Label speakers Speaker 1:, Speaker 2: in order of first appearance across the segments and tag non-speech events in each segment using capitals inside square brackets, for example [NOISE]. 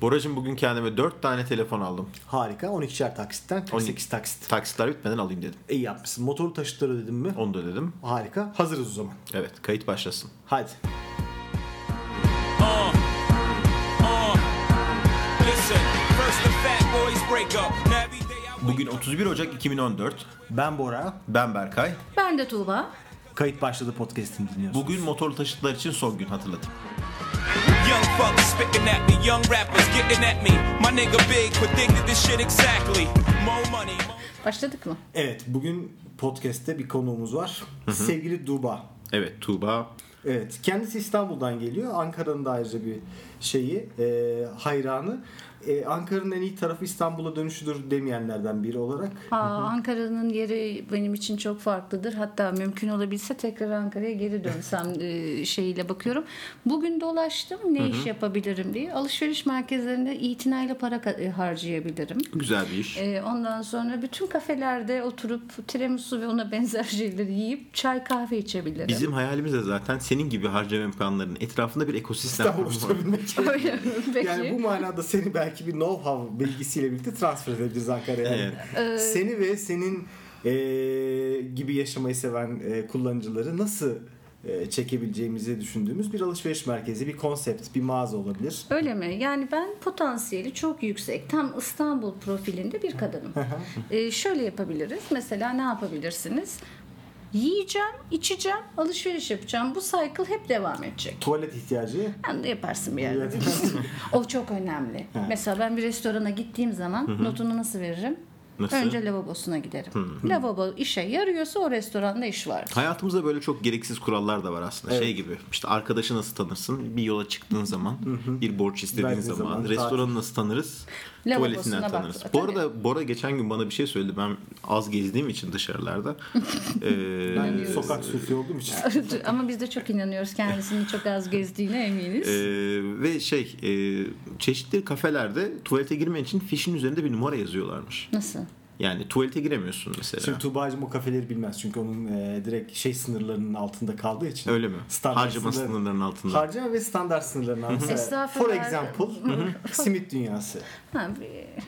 Speaker 1: Boracım bugün kendime 4 tane telefon aldım.
Speaker 2: Harika. 12'şer taksitten 48 taksit.
Speaker 1: Taksitler bitmeden alayım dedim.
Speaker 2: İyi yapmışsın. Motoru taşıtları dedim mi?
Speaker 1: Onu da dedim.
Speaker 2: Harika. Hazırız o zaman.
Speaker 1: Evet kayıt başlasın.
Speaker 2: Hadi.
Speaker 3: Listen, first the fat boys break up. Now every day I
Speaker 1: Bugün 31 Ocak 2014.
Speaker 2: Ben Bora.
Speaker 1: Ben Berkay.
Speaker 4: Ben de Tuğba.
Speaker 2: Kayıt başladı podcast'ini dinliyorsun.
Speaker 1: Bugün motorlu taşıtlar için son gün hatırlatayım.
Speaker 3: Young fellas spitting at me, young rappers getting at me. My nigga big, but think that this shit exactly. More money, more
Speaker 4: Başladık mı?
Speaker 2: Evet bugün podcast'te bir konuğumuz var. Sevgili Duba.
Speaker 1: Evet Tuğba.
Speaker 2: Evet kendisi İstanbul'dan geliyor. Ankara'nın da ayrıca bir şeyi e, hayranı. E, Ankara'nın en iyi tarafı İstanbul'a dönüşüdür demeyenlerden biri olarak.
Speaker 4: Aa, Ankara'nın yeri benim için çok farklıdır. Hatta mümkün olabilse tekrar Ankara'ya geri [LAUGHS] dönsem e, şeyiyle bakıyorum. Bugün dolaştım ne iş yapabilirim diye. Alışveriş merkezlerinde itinayla para ka- e, harcayabilirim.
Speaker 1: Güzel bir iş.
Speaker 4: E, ondan sonra bütün kafelerde oturup tiramisu ve ona benzer şeyleri yiyip çay kahve içebilirim.
Speaker 1: Bizim hayalimiz de zaten senin gibi harcama imkanlarının etrafında bir ekosistem
Speaker 2: İstanbul'u
Speaker 1: kurmak.
Speaker 2: oluşturabilmek.
Speaker 4: [LAUGHS] [LAUGHS] Öyle mi? Peki.
Speaker 2: Yani bu manada seni belki bir know-how bilgisiyle birlikte transfer edebiliriz Ankara'ya.
Speaker 1: Evet.
Speaker 4: Ee,
Speaker 2: Seni ve senin e, gibi yaşamayı seven e, kullanıcıları nasıl e, çekebileceğimizi düşündüğümüz bir alışveriş merkezi, bir konsept, bir mağaza olabilir.
Speaker 4: Öyle mi? Yani ben potansiyeli çok yüksek, tam İstanbul profilinde bir kadınım. Ee, şöyle yapabiliriz. Mesela ne yapabilirsiniz? Yiyeceğim, içeceğim, alışveriş yapacağım. Bu cycle hep devam edecek.
Speaker 2: Tuvalet ihtiyacı
Speaker 4: Hem de yaparsın bir yerde. [LAUGHS] o çok önemli. Mesela ben bir restorana gittiğim zaman notunu nasıl veririm?
Speaker 1: Nasıl?
Speaker 4: Önce lavabosuna giderim. Lavabo işe yarıyorsa o restoranda iş var.
Speaker 1: Hayatımızda böyle çok gereksiz kurallar da var aslında.
Speaker 2: Evet.
Speaker 1: Şey gibi işte arkadaşı nasıl tanırsın? Bir yola çıktığın zaman, bir borç istediğin
Speaker 2: Verdiğin
Speaker 1: zaman,
Speaker 2: zaman,
Speaker 1: restoranı nasıl tanırız?
Speaker 4: Lavabosuna
Speaker 1: Tuvaletinden
Speaker 4: bak-
Speaker 1: tanırız.
Speaker 4: tabii.
Speaker 1: Bu arada Bora geçen gün bana bir şey söyledi. Ben az gezdiğim için
Speaker 4: [LAUGHS]
Speaker 1: dışarılarda. Ee,
Speaker 2: ben sokak sufi olduğum için.
Speaker 4: [LAUGHS] Ama biz de çok inanıyoruz kendisini çok az gezdiğine eminiz.
Speaker 1: Ee, ve şey e, çeşitli kafelerde tuvalete girmen için fişin üzerinde bir numara yazıyorlarmış.
Speaker 4: Nasıl?
Speaker 1: Yani tuvalete giremiyorsun mesela.
Speaker 2: Şimdi Tuğba'cığım o kafeleri bilmez çünkü onun e, direkt şey sınırlarının altında kaldığı için.
Speaker 1: Öyle mi?
Speaker 2: Standart
Speaker 1: Harcama
Speaker 2: sınırları-
Speaker 1: sınırlarının altında.
Speaker 2: Harcama ve standart sınırlarının altında.
Speaker 4: Estağfurullah.
Speaker 2: For example, simit dünyası.
Speaker 4: Ha, bir-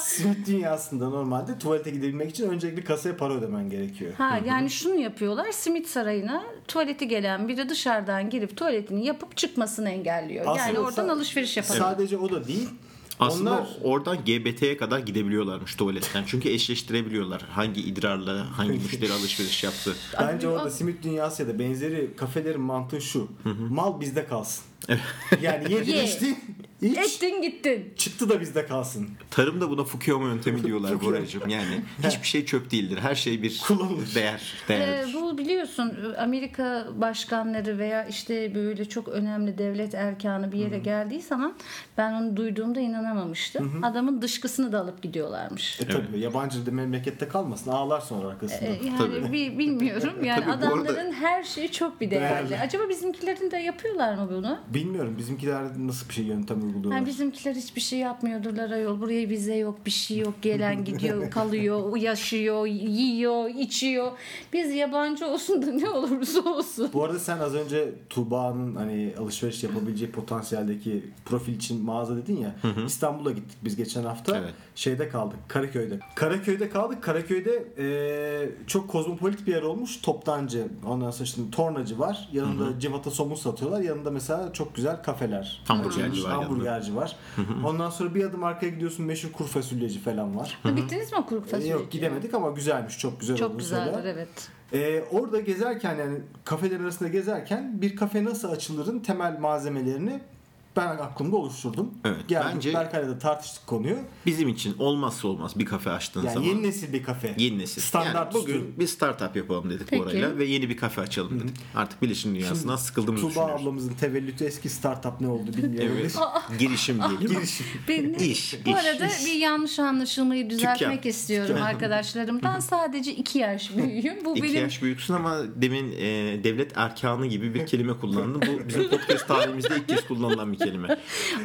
Speaker 2: Simit dünyasında normalde tuvalete gidebilmek için öncelikle kasaya para ödemen gerekiyor.
Speaker 4: Ha yani şunu yapıyorlar. Simit sarayına tuvaleti gelen biri dışarıdan girip tuvaletini yapıp çıkmasını engelliyor. yani
Speaker 2: Aslında
Speaker 4: oradan
Speaker 2: sa-
Speaker 4: alışveriş yapalım.
Speaker 2: Sadece o da değil.
Speaker 1: Aslında
Speaker 2: Onlar
Speaker 1: oradan GBT'ye kadar gidebiliyorlarmış tuvaletten. Çünkü eşleştirebiliyorlar hangi idrarla hangi müşteri alışveriş yaptı.
Speaker 2: bence orada simit dünyası ya da benzeri kafelerin mantığı şu. Mal bizde kalsın. yani yedin
Speaker 4: Ye.
Speaker 2: içtin, iç,
Speaker 4: Ettin gittin.
Speaker 2: çıktı da bizde kalsın.
Speaker 1: Tarım da buna Fukuyama yöntemi diyorlar Boracığım. Yani hiçbir şey çöp değildir. Her şey bir
Speaker 2: Kullanılır.
Speaker 1: değer.
Speaker 4: Ee,
Speaker 1: değer.
Speaker 4: bu biliyorsun Amerika başkanları veya işte böyle çok önemli devlet erkanı bir yere geldiği zaman ben onu duyduğumda inanamamıştım. Adamın dışkısını da alıp gidiyorlarmış.
Speaker 2: E tabii yabancı da memlekette kalmasın. Ağlar sonra arkasında.
Speaker 4: Ee, Yani
Speaker 1: Tabii.
Speaker 4: bi- bilmiyorum. Yani
Speaker 1: Tabii bu arada-
Speaker 4: adamların her şeyi çok bir değerli.
Speaker 2: Değerli.
Speaker 4: Acaba bizimkilerin de yapıyorlar mı bunu?
Speaker 2: Bilmiyorum bizimkiler nasıl bir şey yöntem uyguluyorlar.
Speaker 4: Yani bizimkiler hiçbir şey yapmıyordurlar ayol. Buraya vize yok, bir şey yok.
Speaker 1: [LAUGHS]
Speaker 4: Gelen gidiyor, kalıyor, yaşıyor, yiyor, içiyor. Biz yabancı olsun da ne olursa olsun.
Speaker 2: Bu arada sen az önce Tuğba'nın hani alışveriş yapabileceği potansiyeldeki profil için mağaza dedin ya. İstanbul'a gittik biz geçen hafta.
Speaker 1: Evet.
Speaker 2: Şeyde kaldık. Karaköy'de. Karaköy'de kaldık. Karaköy'de eee, çok kozmopolit bir yer olmuş. Toptancı. Ondan sonra şimdi tornacı var. Yanında civata somun satıyorlar. Yanında mesela çok güzel kafeler.
Speaker 1: Hamburgerci
Speaker 2: açılmış.
Speaker 1: var yanında.
Speaker 2: Hamburgerci var. Ondan sonra bir adım arkaya gidiyorsun. Meşhur kuru fasulyeci falan var.
Speaker 4: Bittiniz mi kuru
Speaker 2: Ee,
Speaker 4: fasulye?
Speaker 2: Yok gidemedik ama güzelmiş. Çok güzel
Speaker 4: Çok
Speaker 2: olduğunu
Speaker 4: güzeldir
Speaker 2: söylüyorlar.
Speaker 4: evet.
Speaker 2: Ee, orada gezerken yani kafelerin arasında gezerken bir kafe nasıl açılırın temel malzemelerini ben aklımda oluşturdum.
Speaker 1: Evet,
Speaker 2: Geldik
Speaker 1: bence-
Speaker 2: Berkay'la da tartıştık konuyu.
Speaker 1: Bizim için olmazsa olmaz bir kafe açtığın
Speaker 2: Yani
Speaker 1: zaman.
Speaker 2: yeni nesil bir kafe.
Speaker 1: Yeni nesil.
Speaker 2: Standart
Speaker 1: yani bugün
Speaker 2: üstü.
Speaker 1: bir startup yapalım dedik
Speaker 4: Peki.
Speaker 1: Bora'yla ve yeni bir kafe açalım dedik. Artık bilişim dünyasından sıkıldığımızı
Speaker 2: Tuğba
Speaker 1: düşünüyoruz.
Speaker 2: ablamızın tevellütü eski startup ne oldu bilmiyorum.
Speaker 1: Evet. Girişim diyelim. Girişim.
Speaker 4: Beni-
Speaker 1: İş,
Speaker 4: bu
Speaker 1: iş,
Speaker 4: arada bir yanlış anlaşılmayı düzeltmek
Speaker 1: Dükkan.
Speaker 4: istiyorum arkadaşlarımdan. Sadece iki yaş büyüğüm. Bu
Speaker 1: İki
Speaker 4: benim
Speaker 1: yaş büyüksün ama demin e, devlet erkanı gibi bir kelime kullandın. Bu bizim podcast tarihimizde ilk kez kullanılan bir kelime.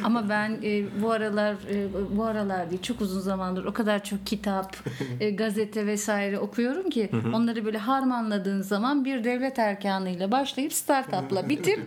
Speaker 4: Ama ben e, bu aralar e, bu aralar değil çok uzun zamandır o kadar
Speaker 2: [LAUGHS]
Speaker 4: çok kitap, e, gazete vesaire okuyorum ki
Speaker 2: [LAUGHS]
Speaker 4: onları böyle harmanladığın zaman bir devlet erkanıyla başlayıp startup'la bitip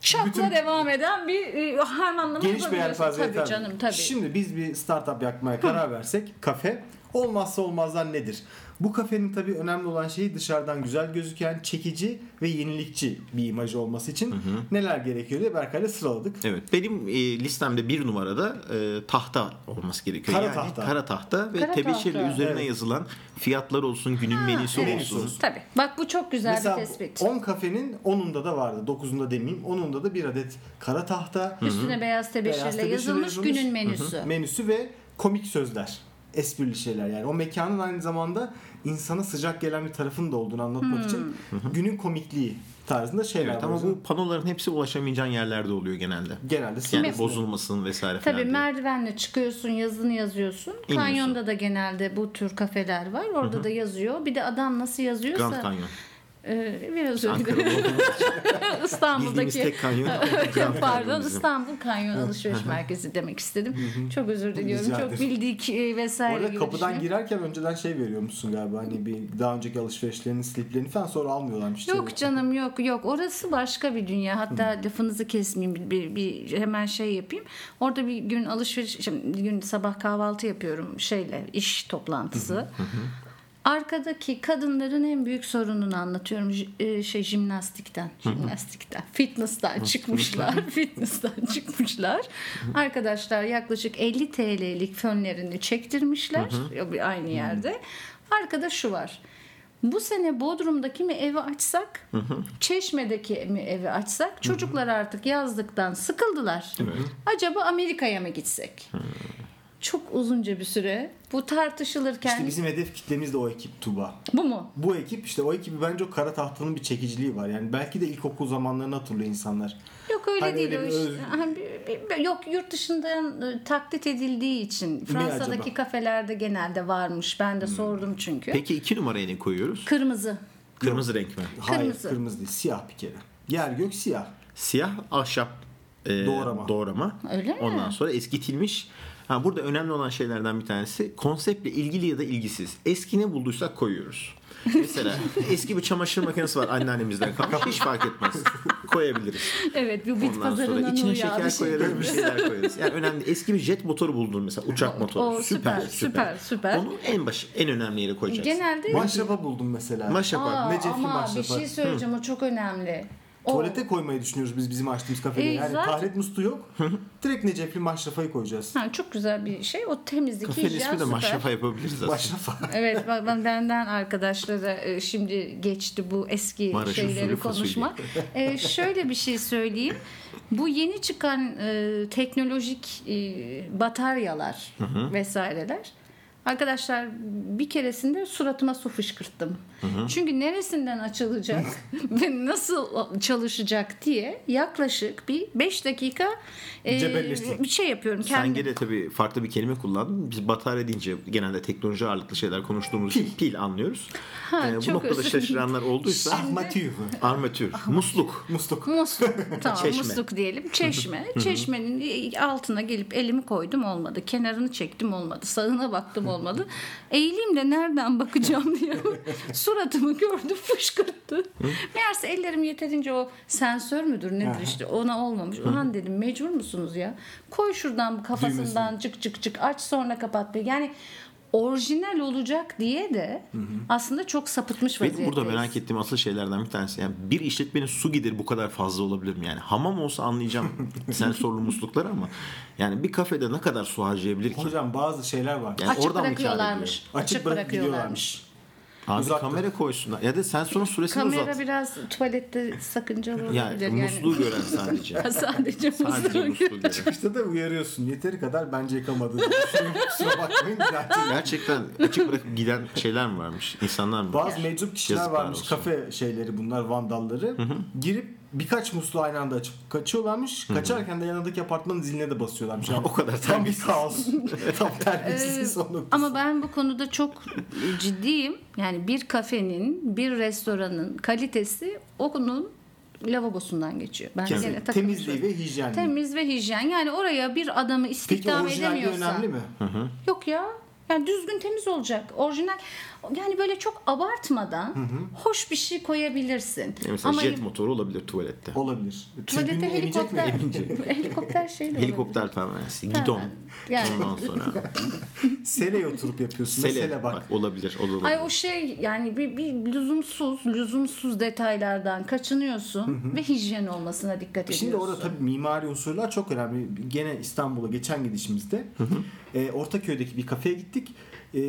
Speaker 4: şakla
Speaker 2: Bütün-
Speaker 4: devam eden bir e, harmanlama
Speaker 2: Geniş bir
Speaker 4: yapabiliyorsun.
Speaker 2: yelpaze
Speaker 4: Tabii
Speaker 2: yeter mi?
Speaker 4: canım tabii.
Speaker 2: Şimdi biz bir startup yakmaya karar versek kafe olmazsa olmazlar nedir? Bu kafenin tabii önemli olan şeyi dışarıdan güzel gözüken, çekici ve yenilikçi bir imajı olması için neler gerekiyor diye Berkay'la sıraladık.
Speaker 1: Evet. Benim e, listemde bir numarada e, tahta olması gerekiyor.
Speaker 2: Kara
Speaker 1: yani
Speaker 2: tahta.
Speaker 1: kara tahta ve
Speaker 4: Kara
Speaker 1: tebeşirle
Speaker 4: tahta.
Speaker 1: üzerine
Speaker 2: Evet.
Speaker 1: yazılan fiyatlar olsun, günün menüsü
Speaker 4: evet.
Speaker 1: olsun.
Speaker 4: Tabii. Bak bu çok güzel
Speaker 2: Mesela
Speaker 4: bir tespit.
Speaker 2: 10 kafenin 10'unda da vardı. 9'unda demeyeyim. 10'unda da bir adet kara tahta
Speaker 4: Üstüne beyaz tebeşirle,
Speaker 2: Beyaz tebeşirle
Speaker 4: yazılmış,
Speaker 2: yazılmış.
Speaker 4: günün menüsü.
Speaker 2: menüsü ve komik sözler. Esprili şeyler yani. O mekanın aynı zamanda insana sıcak gelen bir tarafın da olduğunu anlatmak için
Speaker 4: Hmm.
Speaker 2: günün komikliği tarzında şeyler
Speaker 1: Evet
Speaker 2: var.
Speaker 1: ama bu panoların hepsi ulaşamayacağın yerlerde oluyor genelde.
Speaker 2: genelde
Speaker 1: Yani
Speaker 2: sınırsız.
Speaker 1: bozulmasın vesaire falan.
Speaker 4: Tabii
Speaker 1: diye.
Speaker 4: merdivenle çıkıyorsun, yazını yazıyorsun.
Speaker 1: İniyorsun.
Speaker 4: Kanyonda da genelde bu tür kafeler var. Orada da yazıyor. Bir de adam nasıl yazıyorsa
Speaker 1: Grand Canyon.
Speaker 4: e, biraz öyle.
Speaker 1: Ankara'da olduğumuz için bildiğimiz
Speaker 4: [LAUGHS] İstanbul'daki
Speaker 1: tek
Speaker 4: [LAUGHS]
Speaker 1: kanyon. Grand Canyon
Speaker 4: Pardon
Speaker 1: bizim.
Speaker 4: İstanbul Kanyon Alışveriş Merkezi demek istedim. Çok özür diliyorum.
Speaker 2: Rica
Speaker 4: Çok
Speaker 2: ederim.
Speaker 4: bildik e,
Speaker 2: Bu
Speaker 4: vesaire
Speaker 2: arada
Speaker 4: gibi
Speaker 2: kapıdan
Speaker 4: düşünüyorum.
Speaker 2: girerken önceden şey veriyormuşsun galiba hani bir daha önceki alışverişlerini sliplerini falan sonra almıyorlarmış.
Speaker 4: Yok canım yok yok orası başka bir dünya hatta lafınızı kesmeyeyim bir, bir, bir- hemen şey yapayım orada bir gün alışveriş şimdi bir gün sabah kahvaltı yapıyorum şeyle iş toplantısı arkadaki kadınların en büyük sorununu anlatıyorum J- e, şey jimnastikten jimnastikten fitness'tan çıkmışlar [LAUGHS] fitness'tan çıkmışlar arkadaşlar yaklaşık 50 TL'lik fönlerini çektirmişler aynı yerde arkada şu var bu sene Bodrum'daki mi evi açsak, Çeşme'deki mi evi açsak, çocuklar artık yazlıktan sıkıldılar. Acaba Amerika'ya mı gitsek? Çok uzunca bir süre bu tartışılırken
Speaker 2: İşte bizim hedef kitlemiz de o ekip Tuba.
Speaker 4: bu mu?
Speaker 2: Bu ekip işte o ekibi bence o kara tahtanın bir çekiciliği var. Yani belki de ilkokul zamanlarını hatırlıyor insanlar.
Speaker 4: Yok öyle
Speaker 2: Hani
Speaker 4: değil
Speaker 2: öyle
Speaker 4: o
Speaker 2: bir
Speaker 4: iş.
Speaker 2: öz-
Speaker 4: Ha, bir- bir- Yok yurt dışından e, taklit edildiği için Fransa'daki
Speaker 2: acaba?
Speaker 4: kafelerde genelde varmış. Ben de sordum çünkü.
Speaker 1: Hmm. Peki iki numaraya ne koyuyoruz?
Speaker 4: Kırmızı.
Speaker 1: Kırmızı renk mi?
Speaker 2: Hayır
Speaker 4: Kırmızı.
Speaker 2: kırmızı. değil siyah bir kere. Yer gök siyah.
Speaker 1: Siyah ahşap e,
Speaker 2: Doğrama.
Speaker 1: doğrama.
Speaker 4: Öyle mi?
Speaker 1: Ondan sonra eskitilmiş. Ha, burada önemli olan şeylerden bir tanesi konseptle ilgili ya da ilgisiz. Eski ne bulduysak koyuyoruz. Mesela
Speaker 4: [LAUGHS]
Speaker 1: eski bir çamaşır makinesi var anneannemizden kalmış. Hiç fark etmez. Koyabiliriz.
Speaker 4: [LAUGHS] Evet bu bit
Speaker 1: Ondan sonra
Speaker 4: pazarından
Speaker 1: içine
Speaker 4: uyağı
Speaker 1: şeker
Speaker 4: bir şey.
Speaker 1: koyarız bir şeyler koyarız. Yani önemli. Eski bir jet motoru buldun mesela uçak motoru.
Speaker 4: o süper, süper, süper.
Speaker 1: Onu en baş en önemli yere koyacaksın.
Speaker 4: Genelde
Speaker 2: Maşrapa buldum mesela.
Speaker 1: Maşrapa.
Speaker 4: Aa,
Speaker 2: Necef'in
Speaker 4: ama
Speaker 2: başladı.
Speaker 4: bir şey söyleyeceğim o çok önemli. O,
Speaker 2: Tuvalete koymayı düşünüyoruz biz bizim açtığımız kafede.
Speaker 4: E,
Speaker 2: yani
Speaker 4: zaten-
Speaker 2: tahret musluğu yok. Direkt Necefli maşrafayı
Speaker 4: [LAUGHS]
Speaker 2: koyacağız.
Speaker 4: Ha, çok güzel bir şey. O temizlik
Speaker 1: Kafenin
Speaker 4: hijyen
Speaker 1: ismi de
Speaker 4: süper.
Speaker 1: maşrafa yapabiliriz aslında.
Speaker 2: Maşrafa.
Speaker 4: Evet bak ben benden arkadaşlara e, şimdi geçti bu eski
Speaker 1: Maraş usulü
Speaker 4: şeyleri
Speaker 1: fasulye.
Speaker 4: konuşmak. E, şöyle bir şey söyleyeyim. Bu yeni çıkan e, teknolojik e, bataryalar vesaireler. Arkadaşlar bir keresinde suratıma su fışkırttım. Çünkü
Speaker 1: [LAUGHS]
Speaker 4: neresinden açılacak ve nasıl çalışacak diye yaklaşık bir 5 dakika
Speaker 2: Cebelleştik.
Speaker 4: e, bir şey yapıyorum
Speaker 1: Sen
Speaker 4: kendim.
Speaker 1: gene tabii farklı bir kelime kullandın. Biz batarya deyince genelde teknoloji ağırlıklı şeyler konuştuğumuz pil, pil anlıyoruz. Ee, bu
Speaker 4: çok
Speaker 1: noktada
Speaker 4: özür dilerim. Ah,
Speaker 1: şaşıranlar olduysa
Speaker 2: Ahmatiyuhu.
Speaker 1: armatür, musluk.
Speaker 2: Musluk.
Speaker 4: Musluk.
Speaker 1: [LAUGHS]
Speaker 4: Tamam
Speaker 1: Çeşme.
Speaker 4: musluk diyelim. Çeşme. Çeşmenin e, altına gelip elimi koydum olmadı. Kenarını çektim olmadı. Sağına baktım olmadı. Eğileyim de nereden bakacağım [LAUGHS] diye suratımı gördü fışkırttı. Meğerse ellerim yeterince o sensör müdür nedir işte ona olmamış. Ulan dedim mecbur musunuz ya? Koy şuradan kafasından cık cık cık aç sonra kapat. be. Yani orijinal olacak diye de aslında çok sapıtmış
Speaker 1: Benim
Speaker 4: vaziyetteyiz.
Speaker 1: burada merak ettiğim asıl şeylerden bir tanesi. Yani bir işletmenin su gideri bu kadar fazla olabilir mi? Yani hamam olsa
Speaker 4: [LAUGHS]
Speaker 1: anlayacağım sensörlü muslukları ama yani bir kafede ne kadar su harcayabilir ki?
Speaker 2: Hocam bazı şeyler var.
Speaker 1: Yani
Speaker 4: Açık
Speaker 1: oradan mı kâr ediyor?
Speaker 4: bırakıyorlarmış.
Speaker 2: Açık, bırakıp
Speaker 4: bırakıyorlarmış.
Speaker 2: gidiyorlarmış.
Speaker 1: Abi
Speaker 2: Uzakta.
Speaker 1: kamera koysunlar. Ya da sensörün süresini
Speaker 4: Kamera
Speaker 1: uzat.
Speaker 4: biraz tuvalette sakıncalı olabilir.
Speaker 1: Yani,
Speaker 4: Yani,
Speaker 1: musluğu gören sadece.
Speaker 4: sadece
Speaker 1: sadece
Speaker 4: [LAUGHS] musluğu
Speaker 1: musluğu gören.
Speaker 2: Çıkışta da uyarıyorsun. Yeteri kadar bence yıkamadığınızı düşünüyorum. Kusura bakmayın. Gerçi
Speaker 1: Gerçekten açık bırakıp giden şeyler mi varmış? İnsanlar mı?
Speaker 2: Bazı meczup kişiler
Speaker 1: Yazıklar
Speaker 2: varmış.
Speaker 1: olsun.
Speaker 2: Kafe şeyleri bunlar vandalları. Girip birkaç musluğu aynı anda açıp kaçıyorlarmış. Kaçarken de yanındaki apartmanın ziline de basıyorlarmış. Yani
Speaker 1: [LAUGHS] O kadar
Speaker 2: tam bir
Speaker 1: [LAUGHS]
Speaker 2: kaos. tam terbiyesiz son noktası.
Speaker 4: Ee, Ama ben bu konuda çok ciddiyim. Yani bir kafenin, bir restoranın kalitesi onun lavabosundan geçiyor. Ben
Speaker 2: Kesin.
Speaker 4: gene takılıyorum.
Speaker 2: Temizliği ve hijyen.
Speaker 4: Temiz ve hijyen. Yani oraya bir adamı
Speaker 2: Peki
Speaker 4: istihdam
Speaker 2: orijinalliği
Speaker 4: edemiyorsa.
Speaker 2: önemli mi?
Speaker 4: Yok ya. Yani düzgün temiz olacak. Orijinal yani böyle çok abartmadan hoş bir şey koyabilirsin.
Speaker 1: Yani mesela jet motoru olabilir tuvalette.
Speaker 2: Olabilir. Tüzgün
Speaker 4: tuvalete
Speaker 2: emecek mi?
Speaker 4: helikopter [LAUGHS] helikopter şey de olabilir.
Speaker 1: Helikopter pervanesi, gidon.
Speaker 4: Yani.
Speaker 1: Ondan sonra
Speaker 4: [LAUGHS]
Speaker 2: Seleye oturup yapıyorsun. Sele,
Speaker 1: sele,
Speaker 2: bak.
Speaker 1: bak. olabilir, olabilir.
Speaker 4: Ay o şey yani bir, bir lüzumsuz lüzumsuz detaylardan kaçınıyorsun ve hijyen olmasına dikkat ediyorsun.
Speaker 2: Şimdi orada tabii mimari unsurlar çok önemli. Gene İstanbul'a geçen gidişimizde e, Ortaköy'deki bir kafeye gittik. E,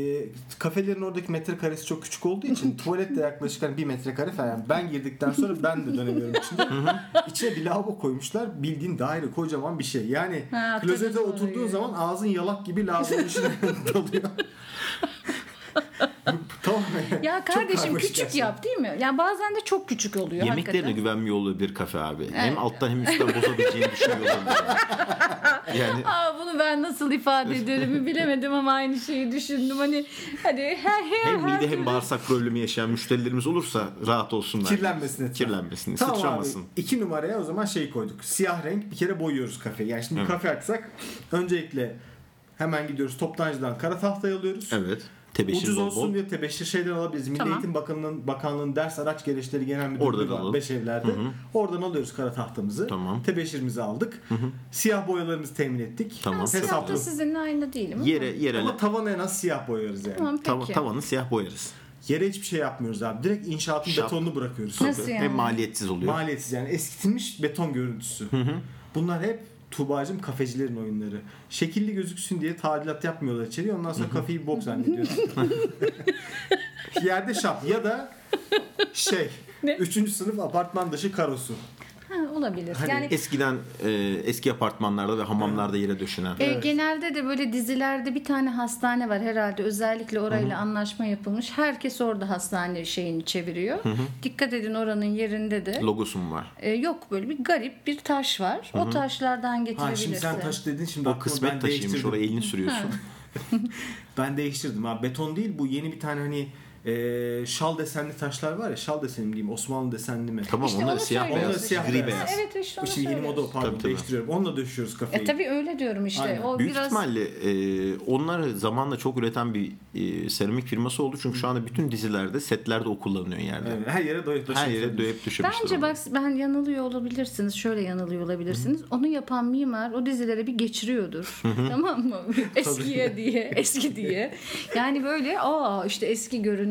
Speaker 2: kafelerin oradaki metrekaresi çok küçük olduğu
Speaker 4: [LAUGHS]
Speaker 2: için tuvalet de yaklaşık hani bir metrekare falan. Yani ben girdikten sonra ben de dönemiyorum içinde. İçine bir lavabo koymuşlar. Bildiğin daire kocaman bir şey. Yani
Speaker 4: Ha,
Speaker 2: klozete
Speaker 4: tabii
Speaker 2: oturduğun
Speaker 4: orayı.
Speaker 2: zaman ağzın yalak gibi lavabonun içine [LAUGHS]
Speaker 4: [LAUGHS]
Speaker 2: dalıyor. tamam.
Speaker 4: Ya
Speaker 2: Çok
Speaker 4: kardeşim
Speaker 2: karmaşık
Speaker 4: küçük
Speaker 2: gerçekten.
Speaker 4: yap değil mi? Yani bazen de çok küçük oluyor
Speaker 1: Yemeklerine
Speaker 4: hakikaten.
Speaker 1: güvenmiyor olabilir kafe abi. Hem alttan hem üstten bozabileceğini düşünüyor
Speaker 4: [LAUGHS]
Speaker 1: olabilir. Yani
Speaker 4: Aa, bunu ben nasıl ifade ederim bilemedim ama aynı şeyi düşündüm. Hani hani her her
Speaker 1: hem
Speaker 4: her
Speaker 1: mide hem
Speaker 4: türlü-
Speaker 1: bağırsak problemi yaşayan müşterilerimiz olursa rahat olsunlar.
Speaker 2: Kirlenmesin etraf.
Speaker 1: Kirlenmesin, sıçramasın.
Speaker 2: Abi, iki numaraya o zaman şey koyduk. Siyah renk bir kere boyuyoruz kafeyi. Yani şimdi
Speaker 1: Evet.
Speaker 2: kafe açsak öncelikle hemen gidiyoruz toptancıdan kara tahtayı alıyoruz.
Speaker 1: Evet. Tebeşir
Speaker 2: Ucuz
Speaker 1: bol
Speaker 2: olsun
Speaker 1: bol.
Speaker 2: diye tebeşir şeyden alabiliriz. Milli
Speaker 4: Tamam.
Speaker 2: Eğitim Bakanlığı'nın Bakanlığı'nın ders araç gereçleri genel müdürlüğü
Speaker 1: Oradan
Speaker 2: var.
Speaker 1: alalım.
Speaker 2: Beş evlerde. Oradan alıyoruz kara tahtamızı.
Speaker 1: Tamam.
Speaker 2: Tebeşirimizi aldık. Siyah boyalarımızı temin ettik.
Speaker 1: Tamam.
Speaker 4: Siyah da
Speaker 2: Hesaplı.
Speaker 4: sizinle aynı değilim. ama-
Speaker 1: Yere yere
Speaker 2: Ama tavana en az siyah boyuyoruz yani.
Speaker 4: Tamam peki.
Speaker 1: tava- tavanı siyah boyarız.
Speaker 2: Yere hiçbir şey yapmıyoruz abi. Direkt inşaatın
Speaker 1: Şap.
Speaker 2: betonunu bırakıyoruz.
Speaker 4: Nasıl yani?
Speaker 1: Hem maliyetsiz oluyor.
Speaker 2: Maliyetsiz yani eskitilmiş beton görüntüsü. Bunlar hep Tuğba'cığım kafecilerin oyunları. Şekilli gözüksün diye tadilat yapmıyorlar içeriye. Ondan sonra kafeyi bok zannediyorsun. [LAUGHS] Yerde şap ya da şey. Üçüncü sınıf apartman dışı karosu.
Speaker 4: Ha, olabilir. yani
Speaker 1: Eskiden e, eski apartmanlarda ve hamamlarda yere döşenen.
Speaker 4: E, Genelde de böyle dizilerde bir tane hastane var herhalde özellikle orayla anlaşma yapılmış. Herkes orada hastane şeyini çeviriyor. Dikkat edin oranın yerinde de
Speaker 1: Logosu mu var?
Speaker 4: e, yok böyle bir garip bir taş var. O taşlardan
Speaker 2: Ha
Speaker 4: getirebilirsin.
Speaker 2: şimdi sen taş dedin şimdi
Speaker 1: O
Speaker 2: aklıma ben
Speaker 1: kısmet taşıymış.
Speaker 2: değiştirdim.
Speaker 1: Oraya elini sürüyorsun.
Speaker 2: Ben değiştirdim ha. Beton değil bu yeni bir tane hani e, şal desenli taşlar var ya. Şal desenli mi diyeyim Osmanlı desenli mi?
Speaker 1: Tamam
Speaker 4: İşte
Speaker 1: onlar
Speaker 4: onu
Speaker 1: siyah
Speaker 4: söylüyoruz
Speaker 1: beyaz,
Speaker 2: işte. Onları
Speaker 1: gri
Speaker 2: siyah
Speaker 1: beyaz.
Speaker 2: beyaz.
Speaker 4: Evet işte onu
Speaker 2: Şimdi yeni moda o
Speaker 4: söylüyoruz.
Speaker 2: pardon
Speaker 1: Tabii, tabii.
Speaker 2: değiştiriyorum. Onunla döşüyoruz kafeyi.
Speaker 4: E tabii öyle diyorum işte.
Speaker 2: Aynen.
Speaker 4: O
Speaker 1: Büyük
Speaker 4: biraz
Speaker 1: ihtimalle e, onlar zamanla çok üreten bir e, seramik firması oldu. Çünkü şu anda bütün dizilerde, setlerde o kullanılıyor yerde.
Speaker 2: Evet, şey her yere doyup
Speaker 1: Her yere döyüp düşürmüşler.
Speaker 4: Bence
Speaker 1: onu.
Speaker 4: bak ben yanılıyor olabilirsiniz. Şöyle yanılıyor olabilirsiniz. Onu yapan mimar o dizilere bir geçiriyordur. [LAUGHS] tamam mı? Eskiye diye, eski diye. Yani böyle aa işte eski görünümlü.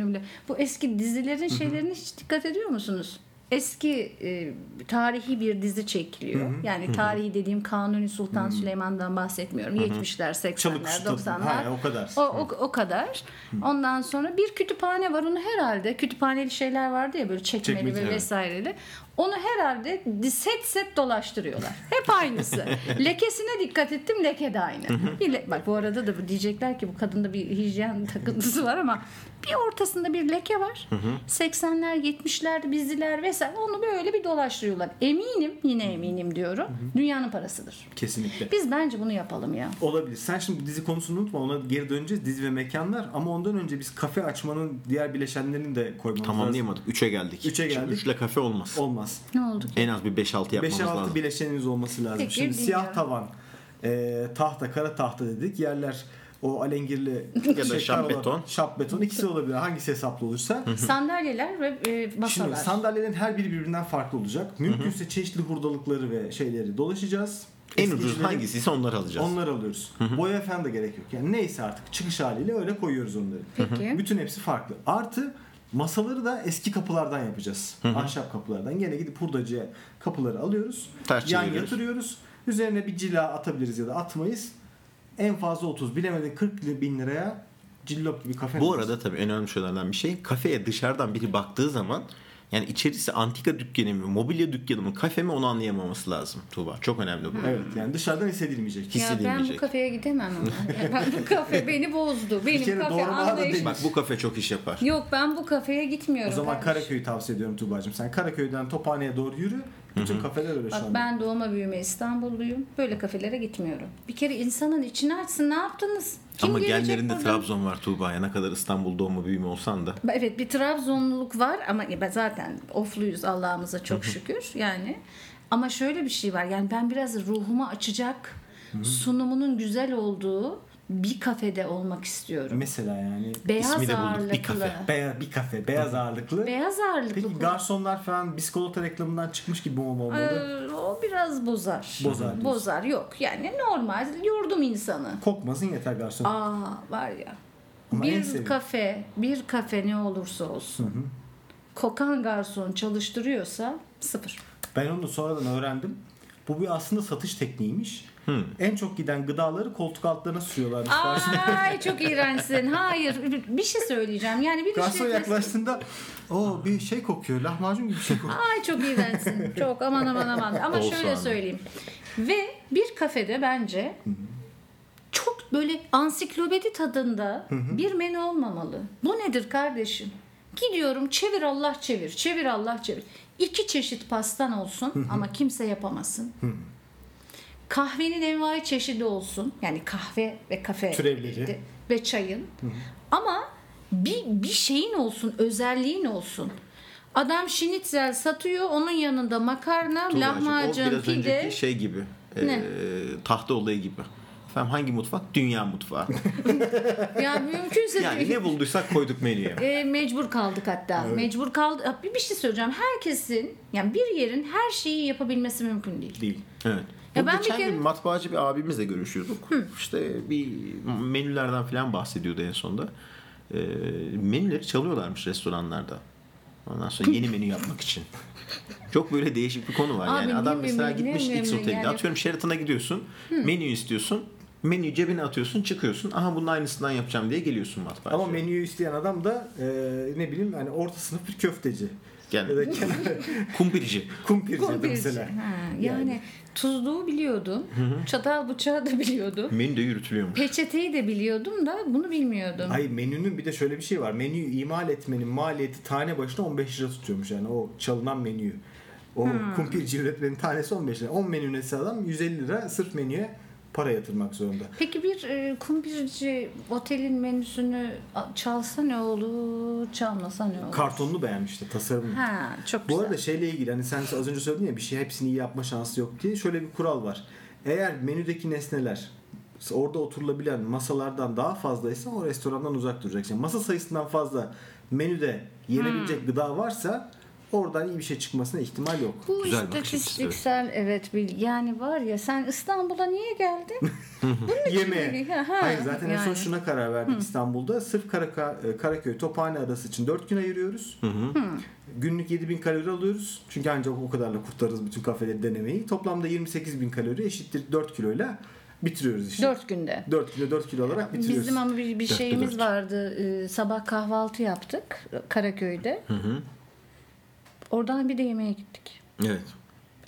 Speaker 4: Bu eski dizilerin şeylerine hiç dikkat ediyor musunuz? Eski e, tarihi bir dizi çekiliyor. Yani tarihi dediğim Kanuni Sultan
Speaker 2: Hmm.
Speaker 4: Süleyman'dan bahsetmiyorum. 70'ler, 80'ler,
Speaker 2: Çalıkuşu tadı.
Speaker 4: 90'lar.
Speaker 2: Ha, o kadar.
Speaker 4: O, o, o kadar. Ondan sonra bir kütüphane var onu herhalde kütüphaneli şeyler vardı ya böyle çekmeli
Speaker 2: Çekmece,
Speaker 4: ve
Speaker 2: evet.
Speaker 4: vesaireli. Onu herhalde set set dolaştırıyorlar.
Speaker 2: [LAUGHS]
Speaker 4: Hep aynısı. Lekesine dikkat ettim leke de aynı. Bir le- bak bu arada da diyecekler ki bu kadında bir hijyen [LAUGHS] takıntısı var ama bir ortasında bir leke var. 80'ler 70'ler bizdiler vesaire onu böyle bir dolaştırıyorlar. Eminim yine eminim diyorum. Dünyanın parasıdır.
Speaker 2: Kesinlikle.
Speaker 4: Biz bence bunu yapalım ya.
Speaker 2: Olabilir. Sen şimdi dizi konusunu unutma. Ona geri döneceğiz. Dizi ve mekanlar. Ama ondan önce biz kafe açmanın diğer bileşenlerini de koymamız lazım.
Speaker 1: Tamamlayamadık. 3'e geldik.
Speaker 2: Üçe geldik.
Speaker 1: 3'le kafe olmaz.
Speaker 2: Olmaz.
Speaker 4: Ne oldu?
Speaker 1: En az bir 5-6 yapmamız
Speaker 2: 5-6
Speaker 1: lazım.
Speaker 2: bileşenimiz olması lazım.
Speaker 4: Peki,
Speaker 2: şimdi siyah
Speaker 4: dinliyorum.
Speaker 2: tavan, e, tahta, kara tahta dedik. Yerler o
Speaker 4: [LAUGHS]
Speaker 2: alengirli
Speaker 1: da
Speaker 2: şey,
Speaker 1: şap
Speaker 2: karo-
Speaker 1: beton.
Speaker 2: Şap beton. İkisi olabilir. Hangisi hesaplı olursa.
Speaker 4: Sandalyeler ve e, masalar.
Speaker 2: Şimdi sandalyelerin her biri birbirinden farklı olacak. Mümkünse çeşitli hurdalıkları ve şeyleri dolaşacağız.
Speaker 1: En
Speaker 2: Eski
Speaker 1: ucuz
Speaker 2: işleri-
Speaker 1: hangisiyse onları alacağız.
Speaker 2: Onları alıyoruz. Boya falan da gerek yok. Yani neyse artık çıkış haliyle öyle koyuyoruz onları. [LAUGHS]
Speaker 4: Peki.
Speaker 2: Bütün hepsi farklı. Artı masaları da eski kapılardan yapacağız. Ahşap kapılardan. Gene gidip hurdacıya kapıları alıyoruz.
Speaker 1: Ters
Speaker 2: yan
Speaker 1: çeviriyoruz.
Speaker 2: yatırıyoruz. Üzerine bir cila atabiliriz ya da atmayız. En fazla 30 bilemedin 40 bin liraya cillop gibi kafe
Speaker 1: Bu
Speaker 2: masası.
Speaker 1: arada tabii en önemli şeylerden bir şey kafeye dışarıdan biri baktığı zaman yani içerisi antika dükkanı mı, mobilya dükkanı mı, kafe mi onu anlayamaması lazım Tuğba. Çok önemli bu.
Speaker 2: Evet yani dışarıdan hissedilmeyecek.
Speaker 4: Ya ben bu
Speaker 1: Hissedilmeyecek.
Speaker 4: kafeye gidemem ama.
Speaker 2: [LAUGHS]
Speaker 4: Ya ben bu kafe beni bozdu.
Speaker 2: kere
Speaker 4: Benim
Speaker 2: doğru
Speaker 4: kafe
Speaker 2: bağda
Speaker 4: anlayış.
Speaker 2: değil.
Speaker 1: Bak bu kafe çok iş yapar.
Speaker 4: Yok ben bu kafeye gitmiyorum.
Speaker 2: O zaman
Speaker 4: kardeşim.
Speaker 2: Karaköy'ü tavsiye ediyorum Tuğba'cığım. Sen Karaköy'den Tophane'ye doğru yürü. Bütün kafeler öyle şu
Speaker 4: Bak
Speaker 2: anda.
Speaker 4: ben doğma büyüme İstanbulluyum. Böyle kafelere gitmiyorum. Bir kere insanın içini açsın. Ne yaptınız? Kim
Speaker 1: Ama
Speaker 4: gelecek
Speaker 1: genlerinde
Speaker 4: buradan?
Speaker 1: Trabzon var Tuğba. Ya ne kadar İstanbul doğma büyüme olsan da.
Speaker 4: Evet bir Trabzonluluk var ama ya ben zaten ofluyuz Allah'ımıza çok şükür yani. Ama şöyle bir şey var yani ben biraz ruhumu açacak sunumumun güzel olduğu bir kafede olmak istiyorum.
Speaker 2: Mesela yani
Speaker 4: Beyaz
Speaker 1: İsmi de bulduk, bir
Speaker 4: ağırlıklı.
Speaker 1: kafe.
Speaker 2: beya, bir kafe beyaz ağırlıklı.
Speaker 4: Beyaz ağırlıklı.
Speaker 2: Peki garsonlar falan biskolata reklamından çıkmış gibi mi olmalı?
Speaker 4: Ee, o biraz bozar.
Speaker 2: Bozar diyorsun.
Speaker 4: Bozar yok. Yani normal yurdum insanı.
Speaker 2: Kokmasın yeter garson.
Speaker 4: Aa var ya.
Speaker 2: Ama en
Speaker 4: bir
Speaker 2: sevdiğim.
Speaker 4: kafe, bir kafe ne olursa olsun. Kokan garson çalıştırıyorsa sıfır.
Speaker 2: Ben onu sonradan öğrendim. Bu bir aslında satış tekniğiymiş. En çok giden gıdaları koltuk altlarına sürüyorlarmış. garson.
Speaker 4: Ay çok iğrençsin. Hayır bir- bir şey söyleyeceğim. Yani
Speaker 2: [LAUGHS]
Speaker 4: bir
Speaker 2: Garson
Speaker 4: şey
Speaker 2: yaklaştığında o bir şey kokuyor. Lahmacun gibi bir şey kokuyor.
Speaker 4: Ay çok iğrençsin. Çok aman aman aman. Ama
Speaker 1: Olsun
Speaker 4: şöyle
Speaker 1: abi.
Speaker 4: söyleyeyim. Ve bir kafede bence çok böyle ansiklopedi tadında bir menü olmamalı. Bu nedir kardeşim? Gidiyorum çevir Allah çevir, çevir Allah çevir. İki çeşit pastan olsun ama kimse yapamasın. Kahvenin envai çeşidi olsun. Yani kahve ve kafe
Speaker 2: Türevleri.
Speaker 4: de- ve çayın. Ama bir, bir şeyin olsun, özelliğin olsun. Adam şinitzel satıyor, onun yanında makarna,
Speaker 1: Tuğba'cığım, o
Speaker 4: lahmacun,
Speaker 1: biraz
Speaker 4: pide.
Speaker 1: önceki şey gibi.
Speaker 4: Ne?
Speaker 1: E, tahta olayı gibi. Efendim hangi mutfak? Dünya mutfağı.
Speaker 4: Ya mümkünse
Speaker 1: şey. [LAUGHS] Yani ne bulduysak koyduk menüye.
Speaker 4: E, mecbur kaldık hatta. Mecbur kaldı. Bir, bir şey söyleyeceğim. Herkesin yani bir yerin her şeyi yapabilmesi mümkün değil.
Speaker 2: Değil.
Speaker 1: Evet.
Speaker 4: Ya
Speaker 1: Bu
Speaker 4: ben bir
Speaker 1: geçen
Speaker 4: kere-
Speaker 1: gün matbaacı bir abimizle görüşüyorduk. İşte bir menülerden falan bahsediyordu en sonunda. Ee, menüleri çalıyorlarmış restoranlarda. Ondan sonra yeni menü yapmak için. Çok böyle değişik bir konu var.
Speaker 4: Abi
Speaker 1: yani
Speaker 4: niye
Speaker 1: adam mesela
Speaker 4: menü- niye
Speaker 1: gitmiş X
Speaker 4: menü
Speaker 1: oteline.
Speaker 4: yani?
Speaker 1: Atıyorum Sheraton'a gidiyorsun. Menü istiyorsun. Menüyü cebine atıyorsun çıkıyorsun. Aha bunun aynısından yapacağım diye geliyorsun matbaacı.
Speaker 2: Ama menüyü isteyen adam da e, ne bileyim hani orta sınıf bir köfteci.
Speaker 1: Yani-
Speaker 2: Ya
Speaker 4: [LAUGHS]
Speaker 2: da kenar-
Speaker 1: Kumpirici.
Speaker 2: kumpirci de
Speaker 4: Kumpirci.
Speaker 2: mesela.
Speaker 4: Ha, yani, tuzluğu biliyordum. Çatal bıçağı da biliyordum.
Speaker 1: Menü de yürütülüyormuş.
Speaker 4: Peçeteyi de biliyordum da bunu bilmiyordum.
Speaker 2: Hayır menünün bir de şöyle bir şey var. Menüyü imal etmenin maliyeti tane başına 15 lira tutuyormuş yani o çalınan menüyü. O kumpirci üretmenin tanesi 15 lira. 10 menü üretse adam 150 lira sırf menüye para yatırmak zorunda.
Speaker 4: Peki bir e, kumpirci otelin menüsünü a- çalsa ne olur, çalmasa ne olur?
Speaker 2: Kartonunu beğenmişti tasarımını.
Speaker 4: ha, çok
Speaker 2: Bu
Speaker 4: güzel.
Speaker 2: arada şeyle ilgili hani sen az önce söyledin ya bir şey hepsini iyi yapma şansı yok diye şöyle bir kural var. Eğer menüdeki nesneler orada oturulabilen masalardan daha fazlaysa o restorandan uzak duracaksın. Yani masa sayısından fazla menüde yenebilecek
Speaker 4: Hmm.
Speaker 2: gıda varsa oradan iyi bir şey çıkmasına ihtimal yok.
Speaker 4: Bu
Speaker 1: Güzel bakış açısı,
Speaker 4: istatistiksel evet bilgi. Yani var ya sen İstanbul'a niye
Speaker 2: [LAUGHS]
Speaker 4: geldin?
Speaker 2: Yemeğe.
Speaker 4: Ha, ha,
Speaker 2: Hayır zaten en son
Speaker 4: yani.
Speaker 2: şuna karar verdik İstanbul'da. Sırf Karaka, e, Karaköy, Tophane Adası için 4 gün ayırıyoruz. Günlük 7000 kalori alıyoruz. Çünkü ancak o kadarla kurtarırız bütün kafeleri denemeyi. Toplamda 28000 kalori eşittir 4 kiloyla bitiriyoruz işte. 4,
Speaker 4: Dört günde.
Speaker 2: kilo 4 kilo olarak bitiriyoruz.
Speaker 4: Bizim ama bir, bir
Speaker 1: Dörtte
Speaker 4: şeyimiz
Speaker 1: dört.
Speaker 4: vardı. Ee, sabah kahvaltı yaptık e, Karaköy'de. Oradan bir de yemeğe gittik.
Speaker 1: Evet.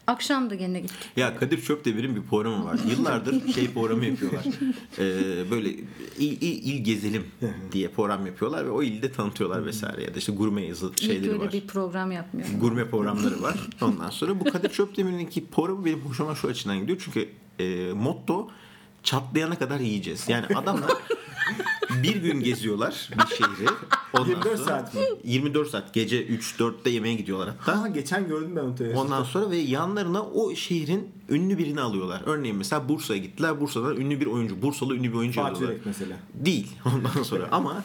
Speaker 4: Akşam da gene gittik.
Speaker 1: Ya Kadir Çöpdemir'in bir programı var. Yıllardır şey programı yapıyorlar. Ee, böyle il, il, il gezelim diye program yapıyorlar ve o ilde tanıtıyorlar vesaire ya da işte gurme yazı
Speaker 4: İlk
Speaker 1: şeyleri
Speaker 4: öyle
Speaker 1: var.
Speaker 4: bir program yapmıyorum.
Speaker 1: Gurme programları var. Ondan sonra bu Kadir Çöpdemir'inki programı benim hoşuma şu açıdan gidiyor. Çünkü e, motto çatlayana kadar yiyeceğiz. Yani adamlar bir gün geziyorlar bir şehri. Ondan
Speaker 2: 24
Speaker 1: sonra-
Speaker 2: saat mi?
Speaker 1: 24 saat. Gece 3-4'te yemeğe gidiyorlar hatta.
Speaker 2: Aha, geçen gördüm ben onu televizyonda.
Speaker 1: Ondan sonra ve yanlarına o şehrin ünlü birini alıyorlar. Örneğin mesela Bursa'ya gittiler. Bursa'dan ünlü bir oyuncu. Bursalı ünlü bir oyuncu
Speaker 2: Fatih
Speaker 1: alıyorlar.
Speaker 2: Yürek mesela.
Speaker 1: Değil [LAUGHS] ondan sonra ama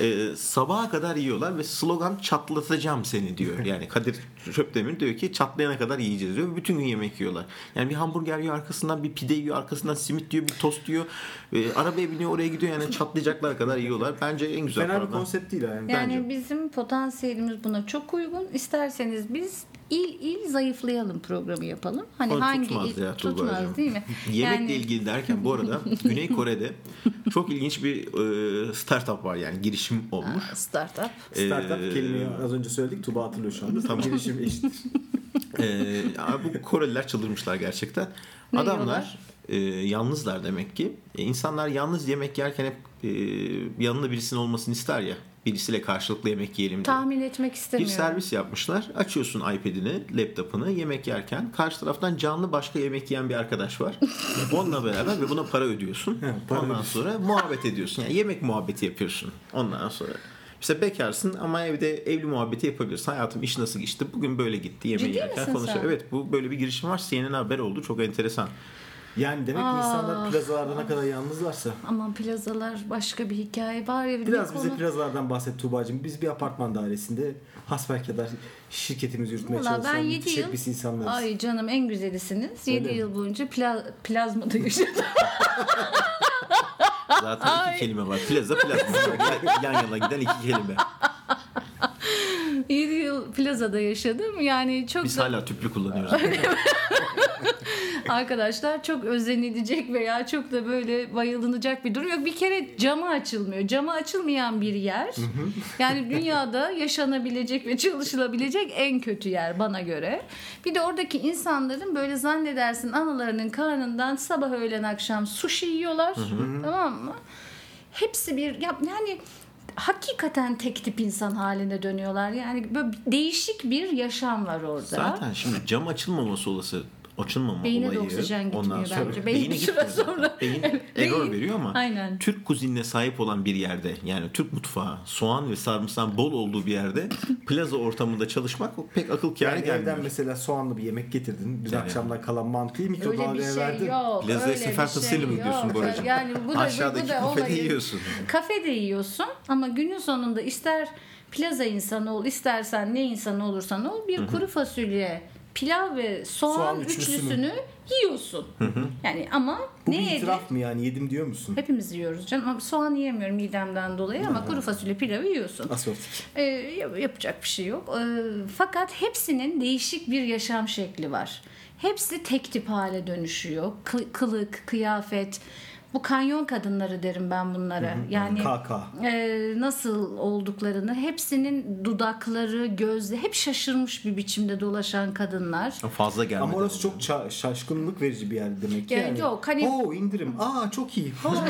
Speaker 1: e, sabaha kadar yiyorlar ve slogan çatlatacağım seni
Speaker 2: [LAUGHS]
Speaker 1: diyor. Yani Kadir Çöpdemir diyor ki çatlayana kadar yiyeceğiz diyor. ve Bütün gün yemek yiyorlar. Yani bir hamburger yiyor arkasından bir pide yiyor arkasından simit yiyor bir tost yiyor. E, arabaya biniyor oraya gidiyor yani çatlayacaklar kadar yiyorlar. Bence en güzel
Speaker 2: Fena bir
Speaker 1: program.
Speaker 2: konsept değil yani.
Speaker 4: Yani
Speaker 1: Bence.
Speaker 4: bizim potansiyelimiz buna çok uygun. İsterseniz biz il il zayıflayalım programı yapalım. Hani
Speaker 1: Onu
Speaker 4: hangi
Speaker 1: tutmaz
Speaker 4: il
Speaker 1: ya Tuğba'cığım.
Speaker 4: tutmaz
Speaker 1: [LAUGHS]
Speaker 4: değil mi?
Speaker 1: Yemekle
Speaker 4: Yani-
Speaker 1: ilgili derken bu
Speaker 4: [LAUGHS]
Speaker 1: arada Güney Kore'de çok ilginç bir e, startup var yani girişim olmuş.
Speaker 4: Startup.
Speaker 2: Startup
Speaker 1: Ee,
Speaker 2: kelimeyi az önce söyledik. Tuba hatırlıyor şu anda.
Speaker 1: Tamam.
Speaker 2: Girişim eşittir.
Speaker 1: Ee, abi bu Koreliler çıldırmışlar gerçekten.
Speaker 4: Ne
Speaker 1: Adamlar e, yalnızlar demek ki. E, insanlar yalnız yemek yerken hep e, yanında birisinin olmasını ister ya. Birisiyle karşılıklı yemek yiyelim diye.
Speaker 4: Tahmin etmek
Speaker 1: Bir
Speaker 4: istemiyorum.
Speaker 1: servis yapmışlar. Açıyorsun iPad'ini, laptop'ını yemek yerken karşı taraftan canlı başka yemek yiyen bir arkadaş
Speaker 4: [LAUGHS]
Speaker 1: var. Onunla beraber ve buna para ödüyorsun.
Speaker 2: para
Speaker 1: Ondan sonra muhabbet ediyorsun. Yani yemek muhabbeti yapıyorsun. Ondan sonra işte bekarsın ama evde evli muhabbeti yapabilirsin. Hayatım iş nasıl geçti? Bugün böyle gitti. Yemeği
Speaker 4: Ciddi
Speaker 1: yerken
Speaker 4: misin
Speaker 1: konuşuyor.
Speaker 4: sen?
Speaker 1: Evet bu böyle bir girişim var. CNN haber oldu. Çok enteresan.
Speaker 2: Yani demek ki
Speaker 4: Ah.
Speaker 2: insanlar plazalarda ne kadar yalnızlarsa.
Speaker 4: Ama plazalar başka bir hikaye var ya. bir
Speaker 2: Biraz bize
Speaker 4: konu-
Speaker 2: plazalardan bahset Tuğba'cığım. Biz bir apartman dairesinde hasbelkader şirketimizi yürütmeye
Speaker 4: Valla ben
Speaker 2: çalışan
Speaker 4: 7 yıl.
Speaker 2: müteşebbis insanlarız.
Speaker 4: Ay canım en güzelisiniz.
Speaker 2: Öyle
Speaker 4: 7
Speaker 2: mi?
Speaker 4: yıl boyunca pla- plazmada [LAUGHS] yaşadım.
Speaker 1: Zaten
Speaker 4: [LAUGHS]
Speaker 1: iki kelime var. Plaza plazma. [LAUGHS] Yan yana giden iki kelime.
Speaker 4: 7 yıl plazada yaşadım. Yani çok
Speaker 1: Biz
Speaker 4: da-
Speaker 1: hala tüplü
Speaker 4: [LAUGHS]
Speaker 1: kullanıyoruz.
Speaker 4: arkadaşlar çok özenilecek veya çok da böyle bayılınacak bir durum yok. Bir kere camı açılmıyor. Camı açılmayan bir yer. yani dünyada yaşanabilecek ve çalışılabilecek en kötü yer bana göre. Bir de oradaki insanların böyle zannedersin analarının karnından sabah öğlen akşam sushi yiyorlar. tamam mı? Hepsi bir ya- yani hakikaten tek tip insan haline dönüyorlar. Yani böyle değişik bir yaşam var orada.
Speaker 1: Zaten şimdi cam açılmaması olası açılmama
Speaker 4: Beyine de
Speaker 1: olayı.
Speaker 4: oksijen gitmiyor bence.
Speaker 1: sonra-
Speaker 4: Beyin bir süre
Speaker 1: gitmiyor zaten.
Speaker 4: sonra-
Speaker 1: Beyin
Speaker 4: Beyin-
Speaker 1: error veriyor ama
Speaker 4: Aynen.
Speaker 1: Türk kuzinine sahip olan bir yerde yani Türk mutfağı, soğan ve sarımsağın bol olduğu bir yerde plaza ortamında çalışmak pek akıl kârı
Speaker 2: yani
Speaker 1: gelmiyor.
Speaker 2: evden mesela soğanlı bir yemek getirdin. Biz
Speaker 1: Yani.
Speaker 2: akşamdan kalan mantıyı
Speaker 4: Öyle bir
Speaker 2: mikrodalgaya
Speaker 4: şey
Speaker 2: verdin.
Speaker 4: yok.
Speaker 1: Lezzet
Speaker 4: öyle
Speaker 1: sefer
Speaker 4: bir şey
Speaker 1: tasıyla mı
Speaker 4: yok.
Speaker 1: gidiyorsun Boracığım?
Speaker 4: Yani bu da,
Speaker 1: Aşağıdaki
Speaker 4: bu da
Speaker 1: kafede
Speaker 4: olayı-
Speaker 1: yiyorsun.
Speaker 4: Kafede yiyorsun ama günün sonunda ister plaza insanı ol, istersen ne insanı olursan ol bir kuru fasulye, pilav ve soğan,
Speaker 2: Soğan
Speaker 4: üçlüsünü.
Speaker 2: üçlüsünü.
Speaker 4: yiyorsun. Yani ama
Speaker 2: Bu
Speaker 4: ne
Speaker 2: bir
Speaker 4: yedin?
Speaker 2: itiraf mı yani yedim diyor musun?
Speaker 4: Hepimiz yiyoruz canım. Ama soğan yiyemiyorum midemden dolayı ama kuru fasulye pilavı yiyorsun.
Speaker 2: Asortik.
Speaker 4: Ee, yap- yapacak bir şey yok. Ee, fakat hepsinin değişik bir yaşam şekli var. Hepsi tek tip hale dönüşüyor. Kı- kılık, kıyafet. Bu kanyon kadınları derim ben bunlara. Yani
Speaker 2: KK.
Speaker 4: e, nasıl olduklarını hepsinin dudakları, gözleri hep şaşırmış bir biçimde dolaşan kadınlar.
Speaker 1: Fazla gelmedi.
Speaker 2: Ama orası çok ça- şaşkınlık verici bir yer demek ki.
Speaker 4: Yani
Speaker 2: Yani,
Speaker 4: yok, hani-
Speaker 2: Oo indirim. Aa çok
Speaker 4: [LAUGHS]
Speaker 2: iyi. Ha,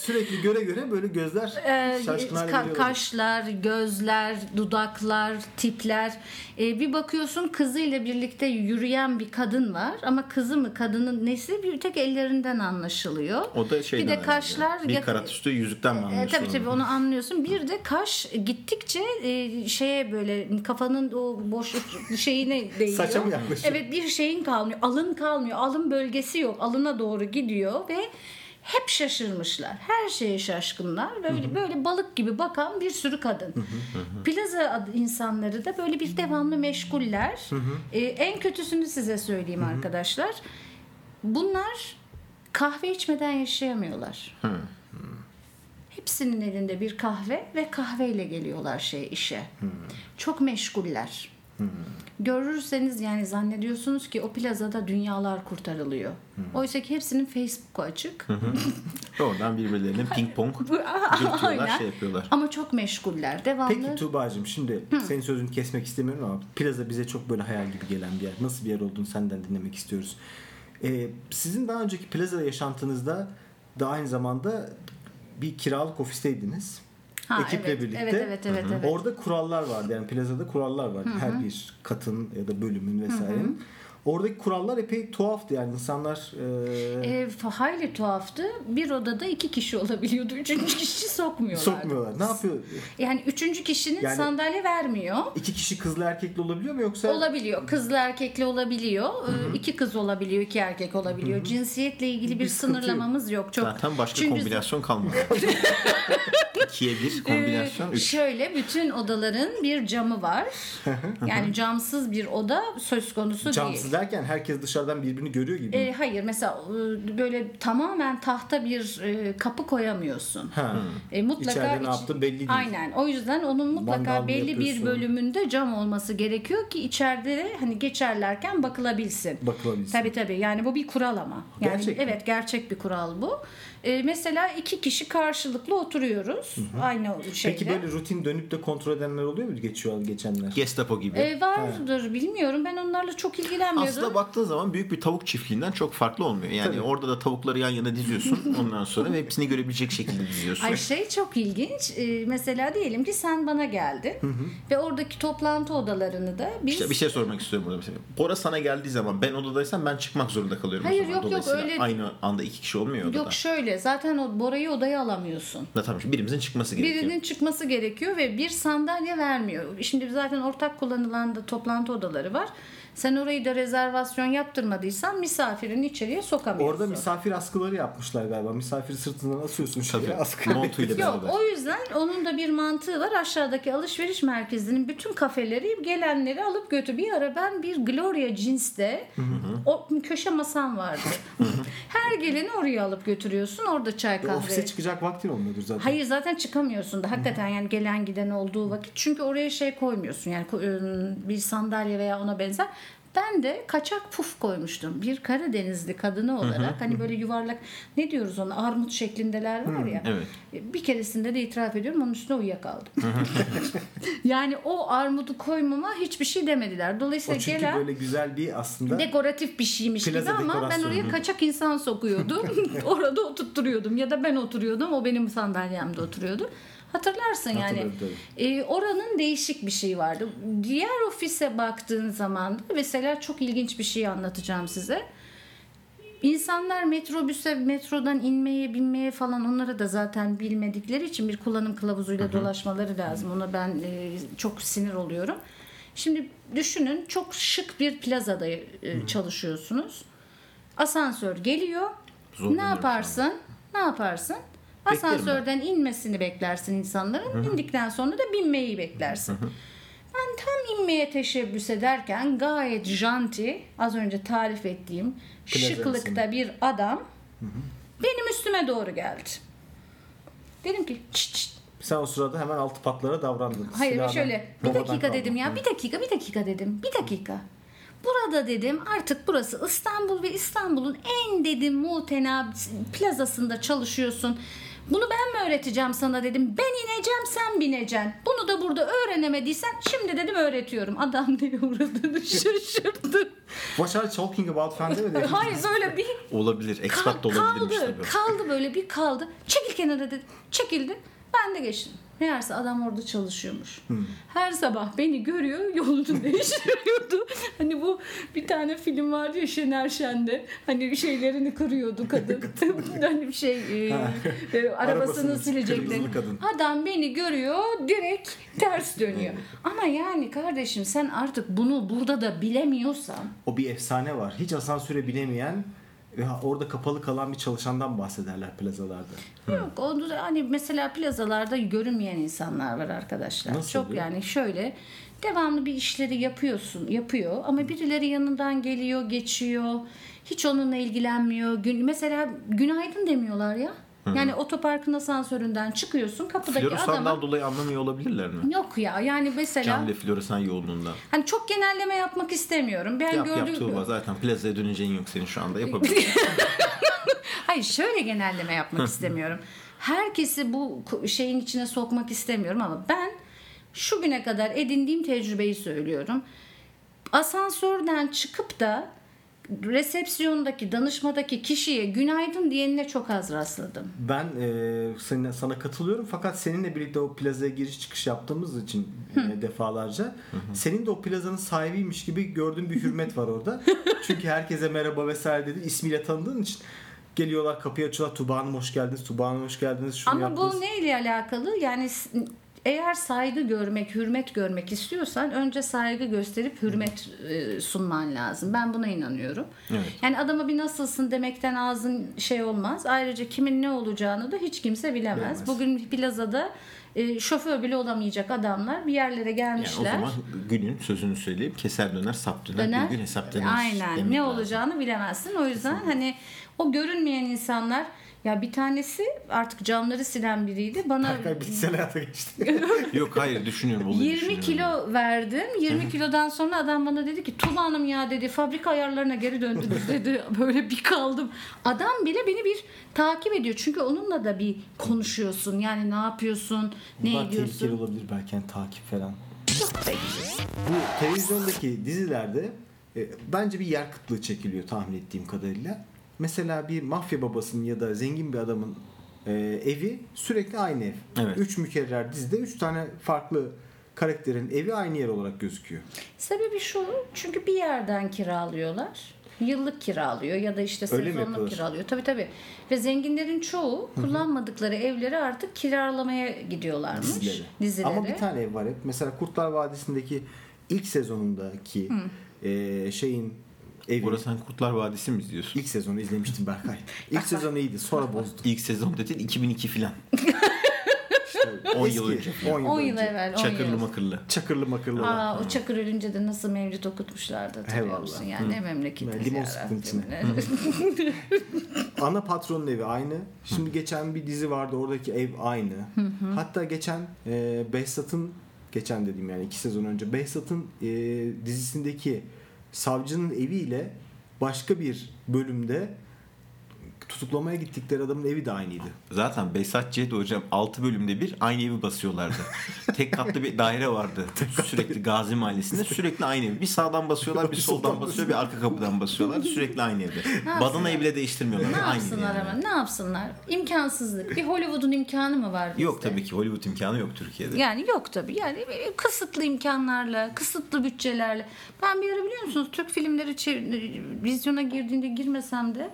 Speaker 2: Sürekli göre göre böyle gözler
Speaker 4: Ee,
Speaker 2: şaşkın hale
Speaker 4: ka-
Speaker 2: geliyor.
Speaker 4: kaşlar, gözler, dudaklar, tipler. Ee, bir bakıyorsun kızıyla birlikte yürüyen bir kadın var ama kızı mı kadının nesi bir tek ellerinden anlaşılıyor.
Speaker 1: O da
Speaker 4: bir
Speaker 1: şeyden
Speaker 4: de
Speaker 1: herhalde.
Speaker 4: kaşlar
Speaker 1: bir
Speaker 4: ya-
Speaker 1: karat üstü yüzükten mi
Speaker 4: e,
Speaker 1: anlıyorsun?
Speaker 4: tabii tabii onu anlıyorsun. Bir de kaş gittikçe e, şeye böyle kafanın o boşluk şeyine değiyor.
Speaker 2: Saça mı yaklaşıyor?
Speaker 4: Evet bir şeyin kalmıyor. Alın kalmıyor. Alın bölgesi yok. Alına doğru gidiyor ve hep şaşırmışlar. Her şeye şaşkınlar. Böyle böyle balık gibi bakan bir sürü kadın. Plaza ad- insanları da böyle bir devamlı meşguller. E, en kötüsünü size söyleyeyim arkadaşlar. Bunlar kahve içmeden yaşayamıyorlar. Hepsinin elinde bir kahve ve kahveyle geliyorlar şey işe. Çok meşguller. Görürseniz yani zannediyorsunuz ki o plazada dünyalar kurtarılıyor. Oysa ki hepsinin Facebook'u açık.
Speaker 1: Oradan birbirlerine ping pong
Speaker 4: [LAUGHS]
Speaker 1: dürtüyorlar,
Speaker 4: Aynen.
Speaker 1: şey yapıyorlar.
Speaker 4: Ama çok meşguller. Devamlı.
Speaker 2: Peki Tuğba'cığım şimdi senin sözünü kesmek istemiyorum ama plaza bize çok böyle hayal gibi gelen bir yer. Nasıl bir yer olduğunu senden dinlemek istiyoruz. Ee, sizin daha önceki plaza yaşantınızda da aynı zamanda bir kiralık ofisteydiniz.
Speaker 4: Ha,
Speaker 2: Ekiple
Speaker 4: evet,
Speaker 2: birlikte.
Speaker 4: evet, evet, evet, evet.
Speaker 2: Orada kurallar vardı. Yani plazada kurallar vardı. Her bir katın ya da bölümün vesairenin. Oradaki kurallar epey tuhaftı yani insanlar e,
Speaker 4: E, fa- hayli tuhaftı. Bir odada iki kişi olabiliyordu. Üçüncü kişi sokmuyorlardı.
Speaker 2: sokmuyorlar. Ne yapıyor?
Speaker 4: Yani üçüncü kişinin
Speaker 2: Yani-
Speaker 4: sandalye vermiyor.
Speaker 2: İki kişi kızla erkekli olabiliyor mu yoksa?
Speaker 4: Olabiliyor. Kızla erkekli olabiliyor. Ee, iki kız olabiliyor, iki erkek olabiliyor. Cinsiyetle ilgili bir,
Speaker 2: Bir sıkıntı yok.
Speaker 4: sınırlamamız yok. Çok.
Speaker 1: Zaten başka
Speaker 4: Çünkü-
Speaker 1: kombinasyon kalmadı.
Speaker 4: [LAUGHS]
Speaker 1: İkiye bir
Speaker 4: Ee,
Speaker 1: kombinasyon. üç.
Speaker 4: şöyle bütün odaların bir
Speaker 2: [LAUGHS]
Speaker 4: camı var. Yani camsız bir oda söz konusu değil.
Speaker 2: Camsız derken herkes dışarıdan birbirini görüyor gibi.
Speaker 4: Ee, hayır mesela e, böyle tamamen tahta bir e, kapı koyamıyorsun.
Speaker 2: Ha.
Speaker 4: E, mutlaka
Speaker 2: İçeride ne
Speaker 4: iç-
Speaker 2: yaptın belli değil.
Speaker 4: Aynen. O yüzden onun mutlaka
Speaker 2: Mangal mı
Speaker 4: belli bir
Speaker 2: yapıyorsun?
Speaker 4: bölümünde cam olması gerekiyor ki içeride hani geçerlerken bakılabilsin.
Speaker 2: Bakılabilsin.
Speaker 4: Tabii tabii. Yani bu bir kural ama. Yani
Speaker 2: Gerçek mi?
Speaker 4: evet gerçek bir kural bu. E, mesela iki kişi karşılıklı oturuyoruz aynı şeyde.
Speaker 2: Peki böyle rutin dönüp de kontrol edenler oluyor mu geçiyor geçenler?
Speaker 1: Gestapo gibi.
Speaker 4: E, vardır bilmiyorum. Ben onlarla çok ilgilenmiyordum.
Speaker 1: Aslında baktığın zaman büyük bir tavuk çiftliğinden çok farklı olmuyor. Yani
Speaker 2: Tabii.
Speaker 1: orada da tavukları yan yana
Speaker 4: [LAUGHS]
Speaker 1: diziyorsun. Ondan sonra ve hepsini görebilecek şekilde diziyorsun.
Speaker 4: Ay şey çok ilginç. E, mesela diyelim ki sen bana geldin ve oradaki toplantı odalarını da biz
Speaker 1: İşte bir şey sormak istiyorum burada mesela. Bora sana geldiği zaman ben odadaysam ben çıkmak zorunda kalıyorum. o
Speaker 4: Hayır,
Speaker 1: zaman.
Speaker 4: yok, yok,
Speaker 1: Dolayısıyla
Speaker 4: öyle-
Speaker 1: Aynı anda iki kişi olmuyor odada.
Speaker 4: Yok şöyle zaten o Bora'yı odaya alamıyorsun.
Speaker 1: Da tamam şimdi birimizin çıkması gerekiyor.
Speaker 4: Birinin çıkması gerekiyor ve bir sandalye vermiyor. Şimdi zaten ortak kullanılan da toplantı odaları var. Sen orayı da rezervasyon yaptırmadıysan misafirini içeriye sokamıyorsun.
Speaker 2: Orada misafir askıları yapmışlar galiba. Misafiri sırtından asıyorsun şeye
Speaker 1: Tabii.
Speaker 2: askı.
Speaker 1: Montuyla
Speaker 4: Yok
Speaker 1: beraber.
Speaker 4: o yüzden onun da bir mantığı var. Aşağıdaki alışveriş merkezinin bütün kafeleri gelenleri alıp götür. Bir ara ben bir Gloria Jeans'te o köşe masam vardı. Her geleni oraya alıp götürüyorsun. Orada çay
Speaker 2: [LAUGHS]
Speaker 4: kahve.
Speaker 2: Ofise çıkacak vaktin olmuyordur zaten.
Speaker 4: Hayır zaten çıkamıyorsun da hakikaten yani gelen giden olduğu vakit. Çünkü oraya şey koymuyorsun yani ko- e, bir sandalye veya ona benzer. Ben de kaçak puf koymuştum. Bir Karadenizli kadını olarak hani böyle yuvarlak ne diyoruz ona armut şeklindeler var ya.
Speaker 1: evet.
Speaker 4: Bir keresinde de itiraf ediyorum onun üstüne uyuyakaldım. [LAUGHS] yani o armudu koymama hiçbir şey demediler.
Speaker 2: O
Speaker 4: Dolayısıyla
Speaker 2: çünkü
Speaker 4: gelen
Speaker 2: böyle güzel bir aslında
Speaker 4: dekoratif bir şeymiş
Speaker 2: Plaza
Speaker 4: gibi ama ben
Speaker 2: dekorasyonu.
Speaker 4: oraya kaçak insan
Speaker 2: [LAUGHS]
Speaker 4: sokuyordum. Orada oturtturuyordum ya da ben oturuyordum o benim sandalyemde oturuyordu. Hatırlarsın yani
Speaker 2: Hatırlarım, tabii.
Speaker 4: e, oranın değişik bir şeyi vardı. Diğer ofise baktığın zaman da mesela çok ilginç bir şey anlatacağım size. İnsanlar metrobüse, metrodan inmeye, binmeye falan onlara da zaten bilmedikleri için bir kullanım kılavuzuyla dolaşmaları lazım. Ona ben e, çok sinir oluyorum. Şimdi düşünün çok şık bir plazada e, çalışıyorsunuz. Asansör geliyor. ne
Speaker 1: Zorlanıyorum
Speaker 4: yaparsın? Ne yaparsın?
Speaker 1: Beklerim
Speaker 4: Asansörden inmesini beklersin insanların. İndikten sonra da binmeyi beklersin. Ben tam inmeye teşebbüs ederken gayet janti az önce tarif ettiğim
Speaker 2: Plaza
Speaker 4: şıklıkta
Speaker 2: insanı.
Speaker 4: bir adam benim üstüme doğru geldi. Dedim ki "Çıt çıt."
Speaker 2: sen o sırada hemen altı patlara davrandın.
Speaker 4: hayır
Speaker 2: Silahla
Speaker 4: şöyle bir
Speaker 2: babadan
Speaker 4: dakika
Speaker 2: kaldın.
Speaker 4: dedim ya
Speaker 2: Hı.
Speaker 4: bir dakika bir dakika dedim bir dakika. Burada dedim artık burası İstanbul ve İstanbul'un en dedim muhtena plazasında çalışıyorsun. Bunu ben mi öğreteceğim sana dedim. Ben ineceğim sen bineceksin. Bunu da burada öğrenemediysen şimdi dedim öğretiyorum. Adam neye uğradığını [LAUGHS] şaşırdı.
Speaker 2: What are you talking about falan
Speaker 4: [LAUGHS]
Speaker 2: demedi. mi?
Speaker 4: Hayır öyle bir
Speaker 1: Olabilir. Expat da
Speaker 4: Kal-
Speaker 1: olabilirmiş
Speaker 4: kaldı,
Speaker 1: tabii.
Speaker 4: kaldı böyle bir kaldı. Çekil kenara dedi. Çekildi. Ben de geçtim. Meğerse adam orada çalışıyormuş. Her sabah beni görüyor, yolunu [LAUGHS] değiştiriyordu. Hani bu bir tane film vardı ya Şener Şen'de. Hani bir şeylerini
Speaker 1: [LAUGHS]
Speaker 4: kırıyordu kadın. [LAUGHS] hani bir şey e, e, arabasını
Speaker 2: Arabasını
Speaker 4: silecekti.
Speaker 2: kırmızılı kadın.
Speaker 4: Adam beni görüyor, direkt ters dönüyor. Ama yani kardeşim sen artık bunu burada da bilemiyorsan
Speaker 2: O bir efsane var. Hiç asansöre binemeyen ve orada kapalı kalan bir çalışandan bahsederler plazalarda.
Speaker 4: Yok onu da hani mesela plazalarda görünmeyen insanlar var arkadaşlar.
Speaker 2: Nasıl
Speaker 4: Çok
Speaker 2: bir-
Speaker 4: yani şöyle devamlı bir işleri yapıyorsun yapıyor ama birileri yanından geliyor geçiyor hiç onunla ilgilenmiyor. Gün, mesela günaydın demiyorlar ya. Yani otoparkın asansöründen çıkıyorsun kapıdaki
Speaker 1: Floresan'dan
Speaker 4: adama
Speaker 1: dolayı anlamıyor olabilirler mi?
Speaker 4: yok ya yani mesela
Speaker 1: Cam ve floresan yoğunluğundan.
Speaker 4: hani çok genelleme yapmak istemiyorum. Ben
Speaker 1: Yap yap
Speaker 4: gördüğüm
Speaker 1: Tuğba zaten plazaya döneceğin yok senin şu
Speaker 4: [LAUGHS]
Speaker 1: anda yapabilirsin.
Speaker 4: Hayır şöyle genelleme yapmak istemiyorum. Herkesi bu ku- şeyin içine sokmak istemiyorum ama ben şu güne kadar edindiğim tecrübeyi söylüyorum. Asansörden çıkıp da resepsiyondaki, danışmadaki kişiye günaydın diyenine çok az rastladım.
Speaker 2: Ben e, seninle, sana katılıyorum fakat seninle birlikte o plazaya giriş çıkış yaptığımız için e, defalarca senin de o plazanın sahibiymiş gibi gördüğüm bir hürmet var
Speaker 4: [LAUGHS]
Speaker 2: orada. Çünkü herkese merhaba vesaire dedi ismiyle tanıdığın için geliyorlar kapıyı açıyorlar Tuba Hanım hoş geldiniz Tuba Hanım hoş geldiniz şunu
Speaker 4: Ama
Speaker 2: yaptınız.
Speaker 4: bu neyle alakalı? Yani s- eğer saygı görmek, hürmet görmek istiyorsan önce saygı gösterip hürmet e, sunman lazım. Ben buna inanıyorum.
Speaker 1: Evet.
Speaker 4: Yani adama bir nasılsın demekten ağzın şey olmaz. Ayrıca kimin ne olacağını da hiç kimse bilemez.
Speaker 2: Bilemez.
Speaker 4: Bugün plazada e, şoför bile olamayacak adamlar bir yerlere
Speaker 1: Yani o
Speaker 4: gelmişler.
Speaker 1: zaman günün sözünü söyleyip keser döner sap döner,
Speaker 4: Döner.
Speaker 1: bir gün hesap döner. demek
Speaker 4: Aynen ne
Speaker 1: lazım.
Speaker 4: olacağını bilemezsin. O yüzden hani o görünmeyen insanlar ya bir tanesi artık camları silen biriydi. Bana
Speaker 2: Berkay bitkisel hayata geçti.
Speaker 1: Yok hayır düşünüyorum. olayı
Speaker 4: 20
Speaker 1: düşünüyorum.
Speaker 4: kilo verdim. 20 kilodan sonra adam bana dedi ki Tuba Hanım ya dedi fabrika ayarlarına
Speaker 2: [LAUGHS]
Speaker 4: geri döndünüz dedi. Böyle bir kaldım. Adam bile beni bir takip ediyor. Çünkü onunla da bir konuşuyorsun. Yani ne yapıyorsun? Ne
Speaker 2: Bunlar tehlikeli
Speaker 4: ediyorsun?
Speaker 2: olabilir belki yani takip falan. Bu televizyondaki dizilerde e, bence bir yer kıtlığı çekiliyor tahmin ettiğim kadarıyla. Mesela bir mafya babasının ya da zengin bir adamın e, evi sürekli aynı ev.
Speaker 1: Evet.
Speaker 2: Üç mükerrer dizide üç tane farklı karakterin evi aynı yer olarak gözüküyor.
Speaker 4: Sebebi şu. Çünkü bir yerden kiralıyorlar. Yıllık kiralıyor ya da işte
Speaker 2: Öyle mi
Speaker 4: sezonluk
Speaker 2: yapıyorlar?
Speaker 4: kiralıyor. Tabii tabii. Ve zenginlerin çoğu kullanmadıkları evleri artık kiralamaya gidiyorlarmış.
Speaker 2: dizileri.
Speaker 4: Dizilere.
Speaker 2: Ama bir tane ev var hep. Mesela Kurtlar Vadisi'ndeki ilk sezonundaki e, şeyin evi.
Speaker 1: Orası hani Kurtlar Vadisi mi izliyorsun?
Speaker 2: İlk sezonu
Speaker 1: [LAUGHS]
Speaker 2: izlemiştim Berkay. İlk sezonu iyiydi sonra bozdu.
Speaker 1: İlk sezon dedin 2002 filan. 10 yıl
Speaker 2: Eski,
Speaker 1: önce.
Speaker 2: 10 yıl
Speaker 4: 10 yıl
Speaker 2: önce.
Speaker 4: evvel. 10
Speaker 1: Çakırlı
Speaker 4: yıl.
Speaker 1: makırlı.
Speaker 2: Çakırlı makırlı.
Speaker 4: Aa, o Çakır ölünce de nasıl mevlüt okutmuşlardı hatırlıyor
Speaker 2: Eyvallah.
Speaker 4: musun? Yani ne memleketimiz
Speaker 2: Limon
Speaker 4: ya
Speaker 2: sıktın içine.
Speaker 4: [LAUGHS] Rabbim.
Speaker 2: Ana patronun evi aynı. Şimdi geçen bir dizi vardı oradaki ev aynı. Hatta geçen e, Behzat'ın geçen dediğim yani iki sezon önce Behzat'ın e, dizisindeki savcının eviyle başka bir bölümde tutuklamaya gittikleri adamın evi de aynıydı.
Speaker 1: Zaten Besat Ceyda hocam 6 bölümde bir aynı evi
Speaker 4: [LAUGHS]
Speaker 1: basıyorlardı. Tek katlı bir daire vardı. sürekli Gazi Mahallesi'nde sürekli aynı evi. Bir sağdan
Speaker 4: [LAUGHS]
Speaker 1: basıyorlar, bir soldan basıyor, bir arka kapıdan basıyorlar. Sürekli aynı evde. Badanayı bile değiştirmiyorlar.
Speaker 4: Ne
Speaker 1: aynı
Speaker 4: yapsınlar
Speaker 1: yani.
Speaker 4: ama ne yapsınlar? İmkansızlık. Bir Hollywood'un imkanı mı var bizde?
Speaker 1: Yok tabii ki Hollywood imkanı yok Türkiye'de.
Speaker 4: Yani yok tabii. Yani e, kısıtlı imkanlarla, kısıtlı bütçelerle. Ben bir ara biliyor musunuz Türk filmleri çev- e, vizyona girdiğinde girmesem de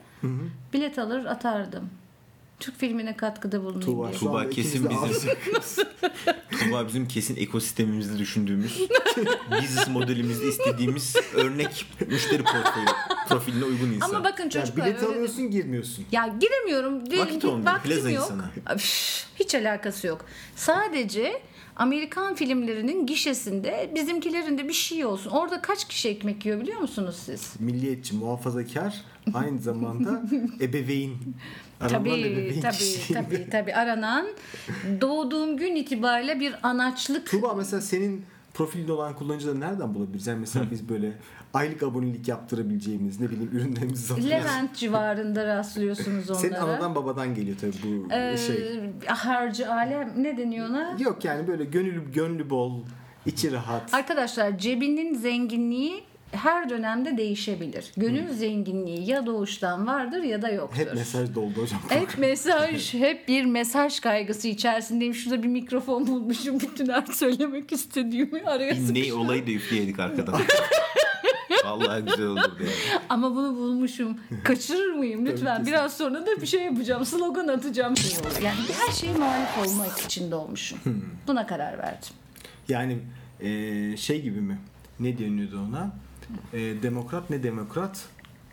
Speaker 4: bilet alır atardım. Türk filmine katkıda bulunayım diye.
Speaker 2: şu
Speaker 1: Tuğba
Speaker 2: anda ikimiz
Speaker 1: kesin
Speaker 2: de
Speaker 1: bizim-
Speaker 2: ağzı-
Speaker 1: Tuğba bizim kesin ekosistemimizde düşündüğümüz, business modelimizde istediğimiz örnek müşteri portföyü profiline uygun insan.
Speaker 4: Ama bakın
Speaker 2: Yani
Speaker 4: çocuklar
Speaker 2: bileti
Speaker 4: öyle-
Speaker 2: alıyorsun girmiyorsun.
Speaker 4: Ya giremiyorum. Diyelim
Speaker 1: Vakit
Speaker 4: ki
Speaker 1: olmuyor, plaza
Speaker 4: vaktim yok.
Speaker 1: insanı.
Speaker 4: Üf, Hiç alakası yok. Sadece Amerikan filmlerinin gişesinde bizimkilerinde bir şey olsun. Orada kaç kişi ekmek yiyor biliyor musunuz siz?
Speaker 2: Milliyetçi, muhafazakar, aynı
Speaker 4: [LAUGHS]
Speaker 2: zamanda ebeveyn. Aranan
Speaker 4: Tabii
Speaker 2: ebeveyn
Speaker 4: tabii
Speaker 2: kişiliği.
Speaker 4: tabii tabii aranan doğduğum gün itibariyle bir anaçlık
Speaker 2: Tuğba mesela senin profilinde olan kullanıcıları nereden bulabiliriz? Yani mesela biz böyle
Speaker 4: [LAUGHS]
Speaker 2: aylık abonelik yaptırabileceğimiz ne bileyim ürünlerimizi satıyoruz.
Speaker 4: Levent civarında rastlıyorsunuz onlara.
Speaker 2: Senin anadan babadan geliyor tabii bu
Speaker 4: Ee,
Speaker 2: şey.
Speaker 4: harcı alem ne deniyor ona?
Speaker 2: Yok yani böyle gönül gönlü bol, içi rahat.
Speaker 4: Arkadaşlar cebinin zenginliği her dönemde değişebilir. Gönül zenginliği ya doğuştan vardır ya da yoktur.
Speaker 2: Hmm. Hep mesaj doldu hocam.
Speaker 4: Hep mesaj, [LAUGHS] hep bir mesaj kaygısı içerisindeyim. Şurada bir mikrofon bulmuşum. Bütün her söylemek istediğimi araya
Speaker 1: Bir ney
Speaker 4: sıkıştım.
Speaker 1: olayı da üfleyedik arkadan. Vallahi güzel olurdu yani.
Speaker 4: Ama bunu bulmuşum. Kaçırır mıyım lütfen? Biraz sonra da bir şey yapacağım.
Speaker 2: [LAUGHS]
Speaker 4: Slogan atacağım. Yani her şeye muhalif olmak için doğmuşum.
Speaker 2: Hmm.
Speaker 4: Buna karar verdim.
Speaker 2: [LAUGHS] Yani e, şey gibi mi? Ne deniyordu ona? E, demokrat ne demokrat?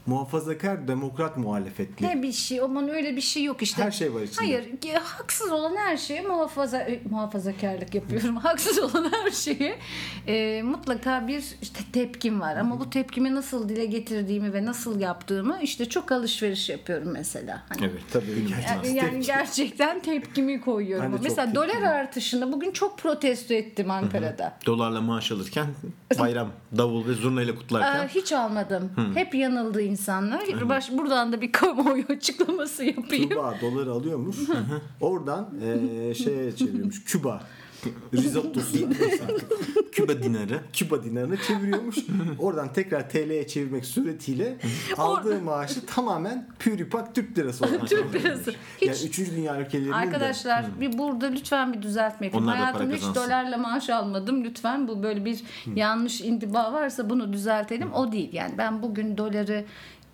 Speaker 2: Muhafazakar demokrat muhalefetli.
Speaker 4: Ne bir şey, aman öyle bir şey yok işte.
Speaker 2: Her şey var içinde.
Speaker 4: Hayır, ki haksız olan her şeye muhafaza e, muhafazakarlık yapıyorum. [LAUGHS] haksız olan her şeye e, mutlaka bir işte tepkim var. Ama bu tepkimi nasıl dile getirdiğimi ve nasıl yaptığımı işte çok alışveriş yapıyorum mesela. Hani
Speaker 1: Evet.
Speaker 2: Tabii.
Speaker 4: Yani, yani gerçekten tepkimi koyuyorum.
Speaker 2: Ben de çok
Speaker 4: Mesela
Speaker 2: tepkim
Speaker 4: dolar artışını bugün çok protesto ettim Ankara'da.
Speaker 1: Dolarla maaş alırken bayram davul ve zurnayla kutlarken
Speaker 4: Aa, hiç almadım. Hep yanıldı insanlar. Baş, buradan da bir kamuoyu [LAUGHS] açıklaması yapayım.
Speaker 2: Küba doları alıyormuş.
Speaker 4: [LAUGHS]
Speaker 2: Oradan eee şeye çeviriyormuş. Küba [LAUGHS] risottosu
Speaker 1: Küba dinarı
Speaker 2: Küba dinarına
Speaker 4: [LAUGHS]
Speaker 2: çeviriyormuş. Oradan tekrar TL'ye çevirmek suretiyle aldığı maaşı tamamen püripak Türk lirası olarak.
Speaker 4: Türk lirası. Hiç
Speaker 2: Yani 3. dünya ülkelerinin de Hmm.
Speaker 4: Arkadaşlar bir burada lütfen bir düzeltme yapın.
Speaker 1: Onlar da para
Speaker 4: Hayatımda hiç
Speaker 1: kazansın.
Speaker 4: dolarla maaş almadım. Lütfen bu böyle bir
Speaker 2: Hmm.
Speaker 4: yanlış indiba varsa bunu düzeltelim. O değil yani. Ben bugün doları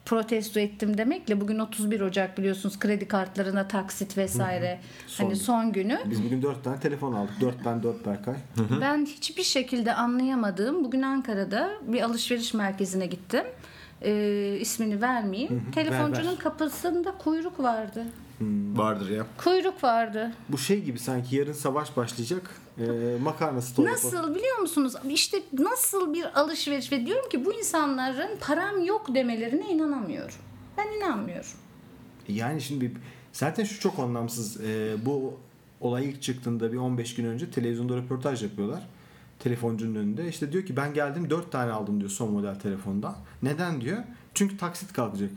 Speaker 4: protesto ettim demekle bugün 31 Ocak biliyorsunuz kredi kartlarına taksit vesaire
Speaker 2: Son
Speaker 4: hani
Speaker 2: gün.
Speaker 4: son günü.
Speaker 2: biz bugün 4 tane telefon aldık. 4 ben 4 Berkay.
Speaker 4: Ben hiçbir şekilde anlayamadığım bugün Ankara'da bir alışveriş merkezine gittim. Ee, ismini vermeyeyim. Telefoncu'nun
Speaker 2: ver.
Speaker 4: kapısında kuyruk vardı.
Speaker 1: vardır ya.
Speaker 4: Kuyruk vardı.
Speaker 2: Bu şey gibi sanki yarın savaş başlayacak. Eee makarnası tolabı.
Speaker 4: Nasıl biliyor musunuz? İşte nasıl bir alışveriş ve diyorum ki bu insanların param yok demelerine inanamıyorum. Ben inanmıyorum.
Speaker 2: Yani şimdi zaten şu çok anlamsız. Ee, bu olay ilk çıktığında bir 15 gün önce televizyonda röportaj yapıyorlar. Telefoncunun önünde. İşte diyor ki ben geldim 4 tane aldım diyor son model telefondan. Neden diyor? Çünkü taksit kalkacak.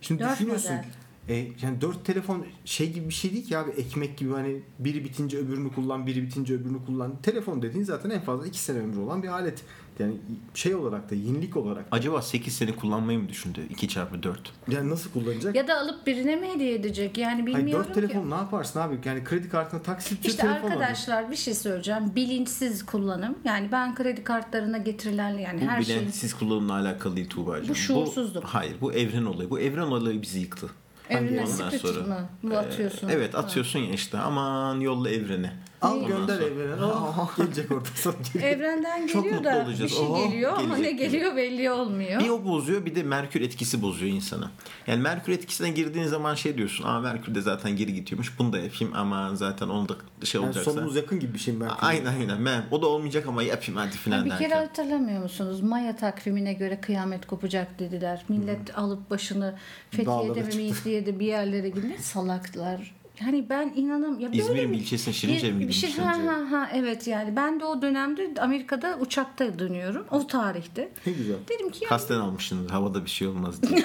Speaker 2: Şimdi
Speaker 4: Dört
Speaker 2: düşünüyorsun.
Speaker 4: model.
Speaker 2: E, yani 4 telefon şey gibi bir şey değil ki abi ekmek gibi hani biri bitince öbürünü kullan biri bitince öbürünü kullan. Telefon dediğin zaten en fazla 2 sene ömrü olan bir alet. Yani şey olarak da yenilik olarak.
Speaker 1: Acaba 8 sene kullanmayı mı düşündü? 2 çarpı 4.
Speaker 2: Yani nasıl kullanacak?
Speaker 4: Ya da alıp birine mi hediye edecek? Yani
Speaker 2: Hayır,
Speaker 4: bilmiyorum
Speaker 2: dört
Speaker 4: ki.
Speaker 2: telefon ne yaparsın abi? Yani kredi kartına taksit
Speaker 4: İşte
Speaker 2: telefon
Speaker 4: arkadaşlar bir şey söyleyeceğim. Bilinçsiz kullanım. Yani ben kredi kartlarına getirilen yani
Speaker 1: Bu
Speaker 4: her şey.
Speaker 1: bilinçsiz kullanımla alakalı değil Tuğba'cığım.
Speaker 4: Bu şuursuzluk.
Speaker 1: hayır bu evren olayı. Bu evren olayı bizi yıktı.
Speaker 4: Evrene
Speaker 1: Ondan
Speaker 4: sıkıştı
Speaker 1: sonra, e,
Speaker 4: mı? Bu atıyorsun.
Speaker 1: Evet atıyorsun ya işte aman yolla evrene.
Speaker 2: Al
Speaker 4: Ne?
Speaker 2: gönder
Speaker 1: sonra-
Speaker 2: evrene. [LAUGHS] Ah, gelecek orada sana geri.
Speaker 4: Evrenden
Speaker 1: Çok
Speaker 4: geliyor
Speaker 1: mutlu
Speaker 4: da bir
Speaker 1: olacağız.
Speaker 4: şey
Speaker 1: Oho,
Speaker 4: geliyor ama ne
Speaker 1: gelecek gibi.
Speaker 4: geliyor belli olmuyor.
Speaker 1: Bir o bozuyor bir de Merkür etkisi bozuyor insanı. Yani Merkür etkisine girdiğin zaman şey diyorsun. Aa Merkür de zaten geri gidiyormuş. Bunu da yapayım ama zaten onu da şey
Speaker 2: Yani
Speaker 1: olacaksa.
Speaker 2: sonumuz yakın gibi bir şey belki.
Speaker 1: Aynen aynen. Ben, o da olmayacak ama yapayım hadi filan
Speaker 4: bir
Speaker 1: derken.
Speaker 4: kere hatırlamıyor musunuz? Maya takvimine göre kıyamet kopacak dediler. Millet alıp başını
Speaker 2: Hmm. Dağlara
Speaker 4: Fethiye'de mi
Speaker 2: çıktı.
Speaker 4: Meyitli'ye bir yerlere gitti.
Speaker 2: [LAUGHS]
Speaker 4: Salaklar. Yani ben inanam ya böyle
Speaker 1: İzmir'in
Speaker 4: bir-
Speaker 1: bir ilçesine Şirince
Speaker 4: bir-
Speaker 1: mi
Speaker 4: bir şey
Speaker 1: gidilmiş
Speaker 4: ha
Speaker 1: önce?
Speaker 4: ha ha evet yani ben de o dönemde Amerika'da uçakta dönüyorum o tarihte.
Speaker 2: Ne güzel.
Speaker 4: Dedim ki [LAUGHS] ya
Speaker 1: Kasten almışsınız. Havada bir şey olmaz diye.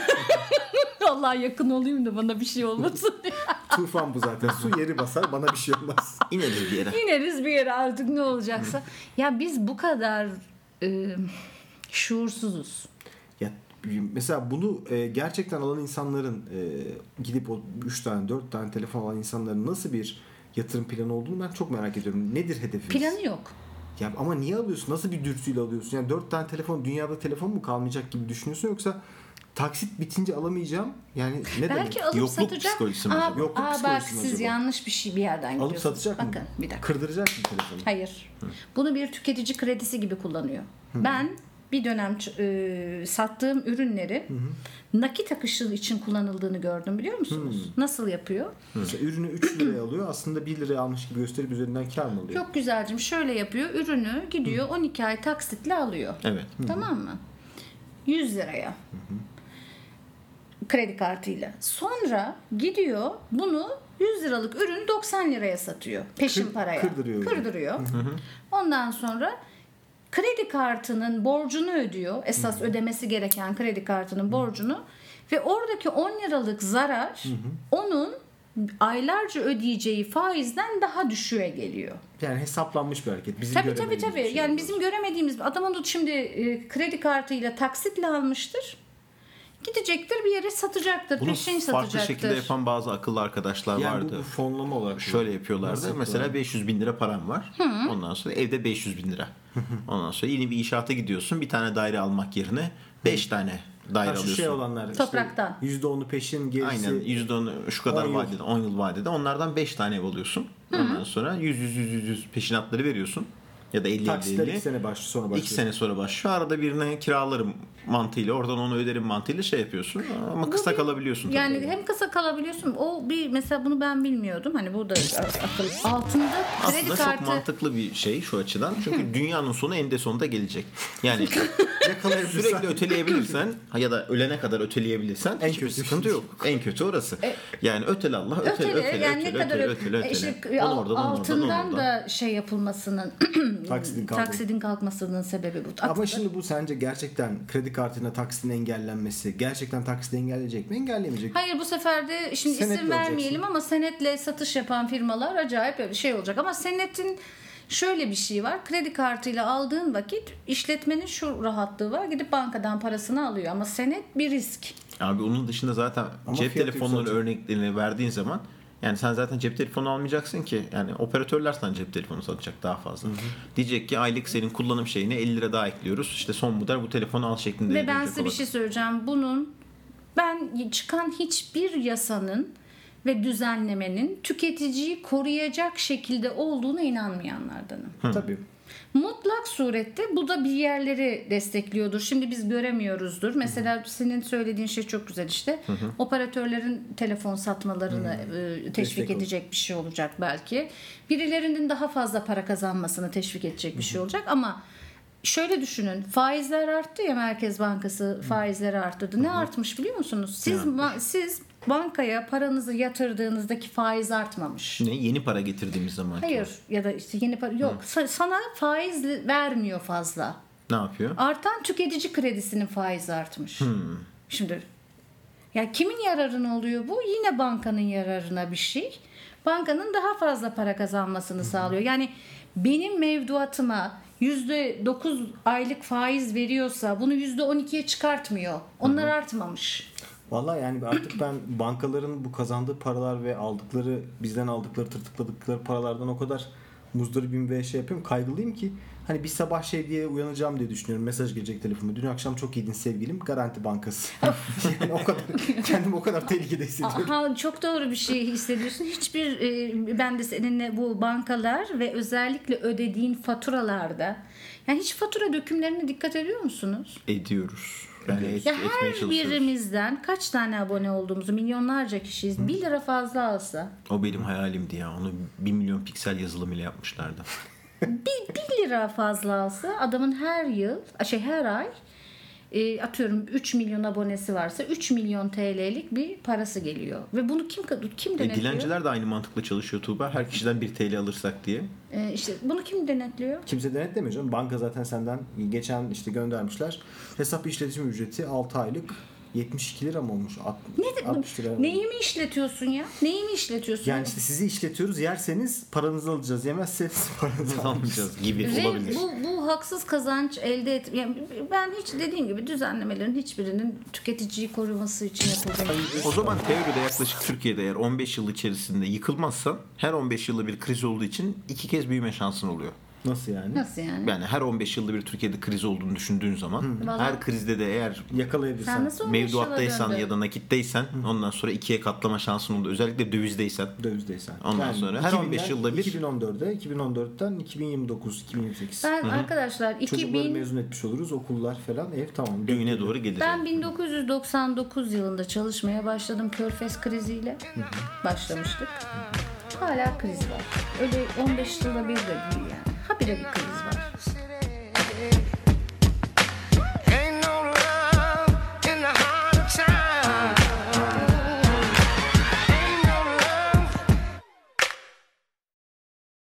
Speaker 4: Allah yakın olayım da bana bir
Speaker 2: [LAUGHS]
Speaker 4: şey olmasın.
Speaker 2: Tufan bu zaten. Su yeri basar bana bir şey olmaz.
Speaker 1: İneriz
Speaker 4: [LAUGHS]
Speaker 1: bir yere.
Speaker 4: İneriz bir yere artık
Speaker 2: [LAUGHS]
Speaker 4: ne olacaksa. ya biz bu kadar e, şuursuzuz.
Speaker 2: Ya mesela bunu e, gerçekten alan insanların e, gidip o 3 tane 4 tane telefon alan insanların nasıl bir yatırım planı olduğunu ben çok merak ediyorum. Nedir hedefiniz?
Speaker 4: Planı yok.
Speaker 2: Ya ama niye alıyorsun? Nasıl bir dürtüyle alıyorsun? Yani 4 tane telefon dünyada telefon mu kalmayacak gibi düşünüyorsun yoksa taksit bitince alamayacağım. Yani ne
Speaker 4: Belki
Speaker 2: demek?
Speaker 4: alıp
Speaker 1: Yokluk
Speaker 4: satacak.
Speaker 1: psikolojisi mi
Speaker 4: Aa,
Speaker 1: acaba?
Speaker 2: Yokluk
Speaker 4: aa, bak
Speaker 2: psikolojisi mi
Speaker 4: siz
Speaker 2: acaba?
Speaker 4: yanlış bir şey bir yerden
Speaker 2: Alıp
Speaker 4: gidiyorsunuz.
Speaker 2: satacak mı?
Speaker 4: Bakın bir dakika.
Speaker 2: Kırdıracak mı telefonu?
Speaker 4: Hayır. Bunu bir tüketici kredisi gibi kullanıyor. Ben bir dönem ç- e, sattığım ürünleri nakit akışı için kullanıldığını gördüm biliyor musunuz? Nasıl yapıyor?
Speaker 2: Mesela ürünü 3 liraya alıyor. Aslında 1 liraya almış gibi gösterip üzerinden kar mı alıyor?
Speaker 4: Çok güzelcim şöyle yapıyor. Ürünü gidiyor 12 ay taksitle alıyor.
Speaker 1: Evet.
Speaker 4: Tamam mı? 100 liraya. Kredi kartıyla. Sonra gidiyor bunu 100 liralık ürün 90 liraya satıyor. Peşin
Speaker 2: Kır-
Speaker 4: paraya.
Speaker 2: kırdırıyor yani.
Speaker 4: Kırdırıyor. Ondan sonra kredi kartının borcunu ödüyor. Esas ödemesi gereken kredi kartının borcunu ve oradaki 10 liralık zarar onun aylarca ödeyeceği faizden daha düşüğe geliyor.
Speaker 2: Yani hesaplanmış bir hareket. Bizim
Speaker 4: Tabii tabii
Speaker 2: göremediğimiz bir
Speaker 4: tabii.
Speaker 2: şey
Speaker 4: Yani
Speaker 2: oluyor.
Speaker 4: bizim göremediğimiz adam onu şimdi e, kredi kartıyla taksitle almıştır. Gidecektir bir yere satacaktır.
Speaker 1: Bunu
Speaker 4: peşin
Speaker 1: farklı
Speaker 4: satacaktır.
Speaker 1: şekilde yapan bazı akıllı arkadaşlar
Speaker 2: yani
Speaker 1: vardı.
Speaker 2: bu, bu fonlama olarak.
Speaker 1: Şöyle yapıyorlardı.
Speaker 2: Nasıl
Speaker 1: Mesela 500 bin lira param var. Ondan sonra evde 500 bin
Speaker 2: [LAUGHS]
Speaker 1: lira. Ondan sonra yeni bir inşaata gidiyorsun. Bir tane daire almak yerine 5 tane daire
Speaker 2: Ha, şu
Speaker 1: alıyorsun.
Speaker 2: şey olanlar. işte
Speaker 4: Topraktan.
Speaker 2: %10'u peşin gerisi.
Speaker 1: Aynen %10 şu kadar
Speaker 2: On yıl.
Speaker 1: vadede 10 yıl vadede onlardan 5 tane ev alıyorsun. Ondan sonra 100 100 100 100 peşinatları veriyorsun ya da 50 50
Speaker 2: Taksitler 2
Speaker 1: 50.
Speaker 2: sene başlıyor sonra başlıyor.
Speaker 1: 2 sene sonra başlıyor. Arada birine kiralarım mantığıyla oradan onu öderim mantığıyla şey yapıyorsun. Ama
Speaker 4: Bu
Speaker 1: kısa
Speaker 4: bir-
Speaker 1: kalabiliyorsun tabii.
Speaker 4: Yani hem kısa kalabiliyorsun. O bir mesela bunu ben bilmiyordum. Hani burada akıl- altında kredi
Speaker 1: Aslında
Speaker 4: kartı
Speaker 1: çok mantıklı bir şey şu açıdan.
Speaker 4: [LAUGHS]
Speaker 1: Çünkü dünyanın sonu eninde sonunda gelecek. Yani
Speaker 2: Yakalayabilirsen.
Speaker 1: sürekli öteleyebilirsen ya da ölene kadar öteleyebilirsen
Speaker 2: En
Speaker 1: en kötü
Speaker 2: kötü.
Speaker 1: sıkıntı yok. En kötü orası. yani ötele Allah ötele ötele
Speaker 4: E, ötele,
Speaker 1: ötele
Speaker 4: yani
Speaker 1: ötele
Speaker 4: ne kadar
Speaker 1: ötele,
Speaker 4: ö-
Speaker 1: ötele,
Speaker 4: e, işte,
Speaker 1: ötele.
Speaker 4: al-
Speaker 1: Onu oradan, onu oradan, onu
Speaker 4: altından
Speaker 1: oradan.
Speaker 4: da şey yapılmasının
Speaker 2: Taksitin kaldı.
Speaker 4: taksidin kalkmasının sebebi bu.
Speaker 2: Ama şimdi bu sence gerçekten kredi kartına taksitin engellenmesi gerçekten taksit engelleyecek mi? Engellemeyecek.
Speaker 4: Hayır bu sefer de şimdi
Speaker 2: Senetle
Speaker 4: isim
Speaker 2: olacaksın.
Speaker 4: vermeyelim ama senetle satış yapan firmalar acayip bir şey olacak. Ama senetin şöyle bir şey var. Kredi kartıyla aldığın vakit işletmenin şu rahatlığı var. Gidip bankadan parasını alıyor ama senet bir risk.
Speaker 1: Abi onun dışında zaten
Speaker 2: Ama
Speaker 1: cep
Speaker 2: fiyatı
Speaker 1: telefonları
Speaker 2: yükseltecek.
Speaker 1: örneklerini verdiğin zaman yani sen zaten cep telefonu almayacaksın ki. Yani operatörler sana cep telefonu satacak daha fazla. Diyecek ki aylık senin kullanım şeyine 50 lira daha ekliyoruz. İşte son model bu telefonu al şeklinde.
Speaker 4: Ve ben
Speaker 1: verecek
Speaker 4: size bir
Speaker 1: olarak.
Speaker 4: şey söyleyeceğim. Bunun ben çıkan hiçbir yasanın ve düzenlemenin tüketiciyi koruyacak şekilde olduğuna inanmayanlardanım.
Speaker 2: Tabii.
Speaker 4: Mutlak surette bu da bir yerleri destekliyordur. Şimdi biz göremiyoruzdur. Mesela senin söylediğin şey çok güzel işte. Operatörlerin telefon satmalarını e, teşvik
Speaker 2: Destek olur.
Speaker 4: edecek bir şey olacak belki. Birilerinin daha fazla para kazanmasını teşvik edecek bir şey olacak ama şöyle düşünün. Faizler arttı ya Merkez Bankası faizleri arttırdı. Ne artmış biliyor musunuz? Siz ba- siz bankaya paranızı yatırdığınızdaki faiz artmamış.
Speaker 1: Ne? Yeni para getirdiğimiz zaman.
Speaker 4: Hayır ya da işte yeni para yok. Sa- Sana faiz vermiyor fazla.
Speaker 1: Ne yapıyor?
Speaker 4: Artan tüketici kredisinin faizi artmış. Şimdi ya kimin yararına oluyor bu? Yine bankanın yararına bir şey. Bankanın daha fazla para kazanmasını sağlıyor. Yani benim mevduatıma %9 aylık faiz veriyorsa bunu %12'ye çıkartmıyor. Onlar artmamış.
Speaker 2: Valla yani artık ben bankaların bu kazandığı paralar ve aldıkları bizden aldıkları tırtıkladıkları paralardan o kadar muzdaribim ve şey yapıyorum kaygılıyım ki hani bir sabah şey diye uyanacağım diye düşünüyorum. Mesaj gelecek telefonuma. Dün akşam çok iyiydin sevgilim. Garanti Bankası. [LAUGHS] yani o kadar kendimi o kadar tehlikede hissediyorum.
Speaker 4: Aha, çok doğru bir şey hissediyorsun. Hiçbir e, ben de seninle bu bankalar ve özellikle ödediğin faturalarda yani hiç fatura dökümlerine dikkat ediyor musunuz?
Speaker 1: Ediyoruz. Yani et,
Speaker 4: Ya
Speaker 1: etmeye
Speaker 4: her
Speaker 1: çalışıyoruz.
Speaker 4: birimizden kaç tane abone olduğumuzu milyonlarca kişiyiz. Bir lira fazla alsa
Speaker 1: O benim hayalimdi ya. Onu 1 milyon piksel yazılım ile yapmışlardı.
Speaker 4: bir, bir lira fazla alsa adamın her yıl şey her ay e, atıyorum 3 milyon abonesi varsa 3 milyon TL'lik bir parası geliyor. Ve bunu kim kim
Speaker 1: e,
Speaker 4: denetliyor?
Speaker 1: dilenciler de aynı mantıkla çalışıyor Tuğba. Her kişiden 1 TL alırsak diye.
Speaker 4: E, işte bunu kim denetliyor?
Speaker 2: Kimse denetlemiyor canım. Banka zaten senden geçen işte göndermişler. Hesap işletim ücreti 6 aylık 72 lira mı olmuş? Alt-
Speaker 4: Ne,
Speaker 2: 60 lira. mı?
Speaker 4: neyi mi işletiyorsun ya? Neyi mi işletiyorsun?
Speaker 2: Yani işte sizi işletiyoruz. Yerseniz paranızı alacağız. Yemezseniz [LAUGHS] paranızı almayacağız.
Speaker 1: Almayacağız gibi
Speaker 4: Ve
Speaker 1: olabilir.
Speaker 4: bu, bu haksız kazanç elde et. yani ben hiç dediğim gibi düzenlemelerin hiçbirinin tüketiciyi koruması için şey yapıldığını
Speaker 1: O zaman teoride yaklaşık Türkiye'de eğer 15 yıl içerisinde yıkılmazsan her 15 yılda bir kriz olduğu için iki kez büyüme şansın oluyor.
Speaker 2: Nasıl yani?
Speaker 4: Nasıl yani?
Speaker 1: Yani her 15 yılda bir Türkiye'de kriz olduğunu düşündüğün zaman
Speaker 4: Vallahi-
Speaker 1: her krizde de eğer
Speaker 2: Yakalayabilirsen.
Speaker 4: Sen nasıl 15 yıla
Speaker 1: mevduattaysan
Speaker 4: döndün?
Speaker 1: ya da nakitteysen ondan sonra ikiye katlama şansın oluyor. Özellikle dövizdeysen.
Speaker 2: Dövizdeysen.
Speaker 1: Ondan sonra her
Speaker 2: 2000'den
Speaker 1: 15 yılda bir-
Speaker 2: 2014'e, 2014'ten 2029, 2028.
Speaker 4: Ben arkadaşlar
Speaker 2: Çocukları
Speaker 4: 2000
Speaker 2: mezun etmiş oluruz. Okullar falan. Ev tamam.
Speaker 1: Düğüne doğru gelecek.
Speaker 4: Ben 1999 yılında çalışmaya başladım Körfez kriziyle. Başlamıştık. Hala kriz var. Öyle 15 yılda bir de değil yani. Habire bir kriz var.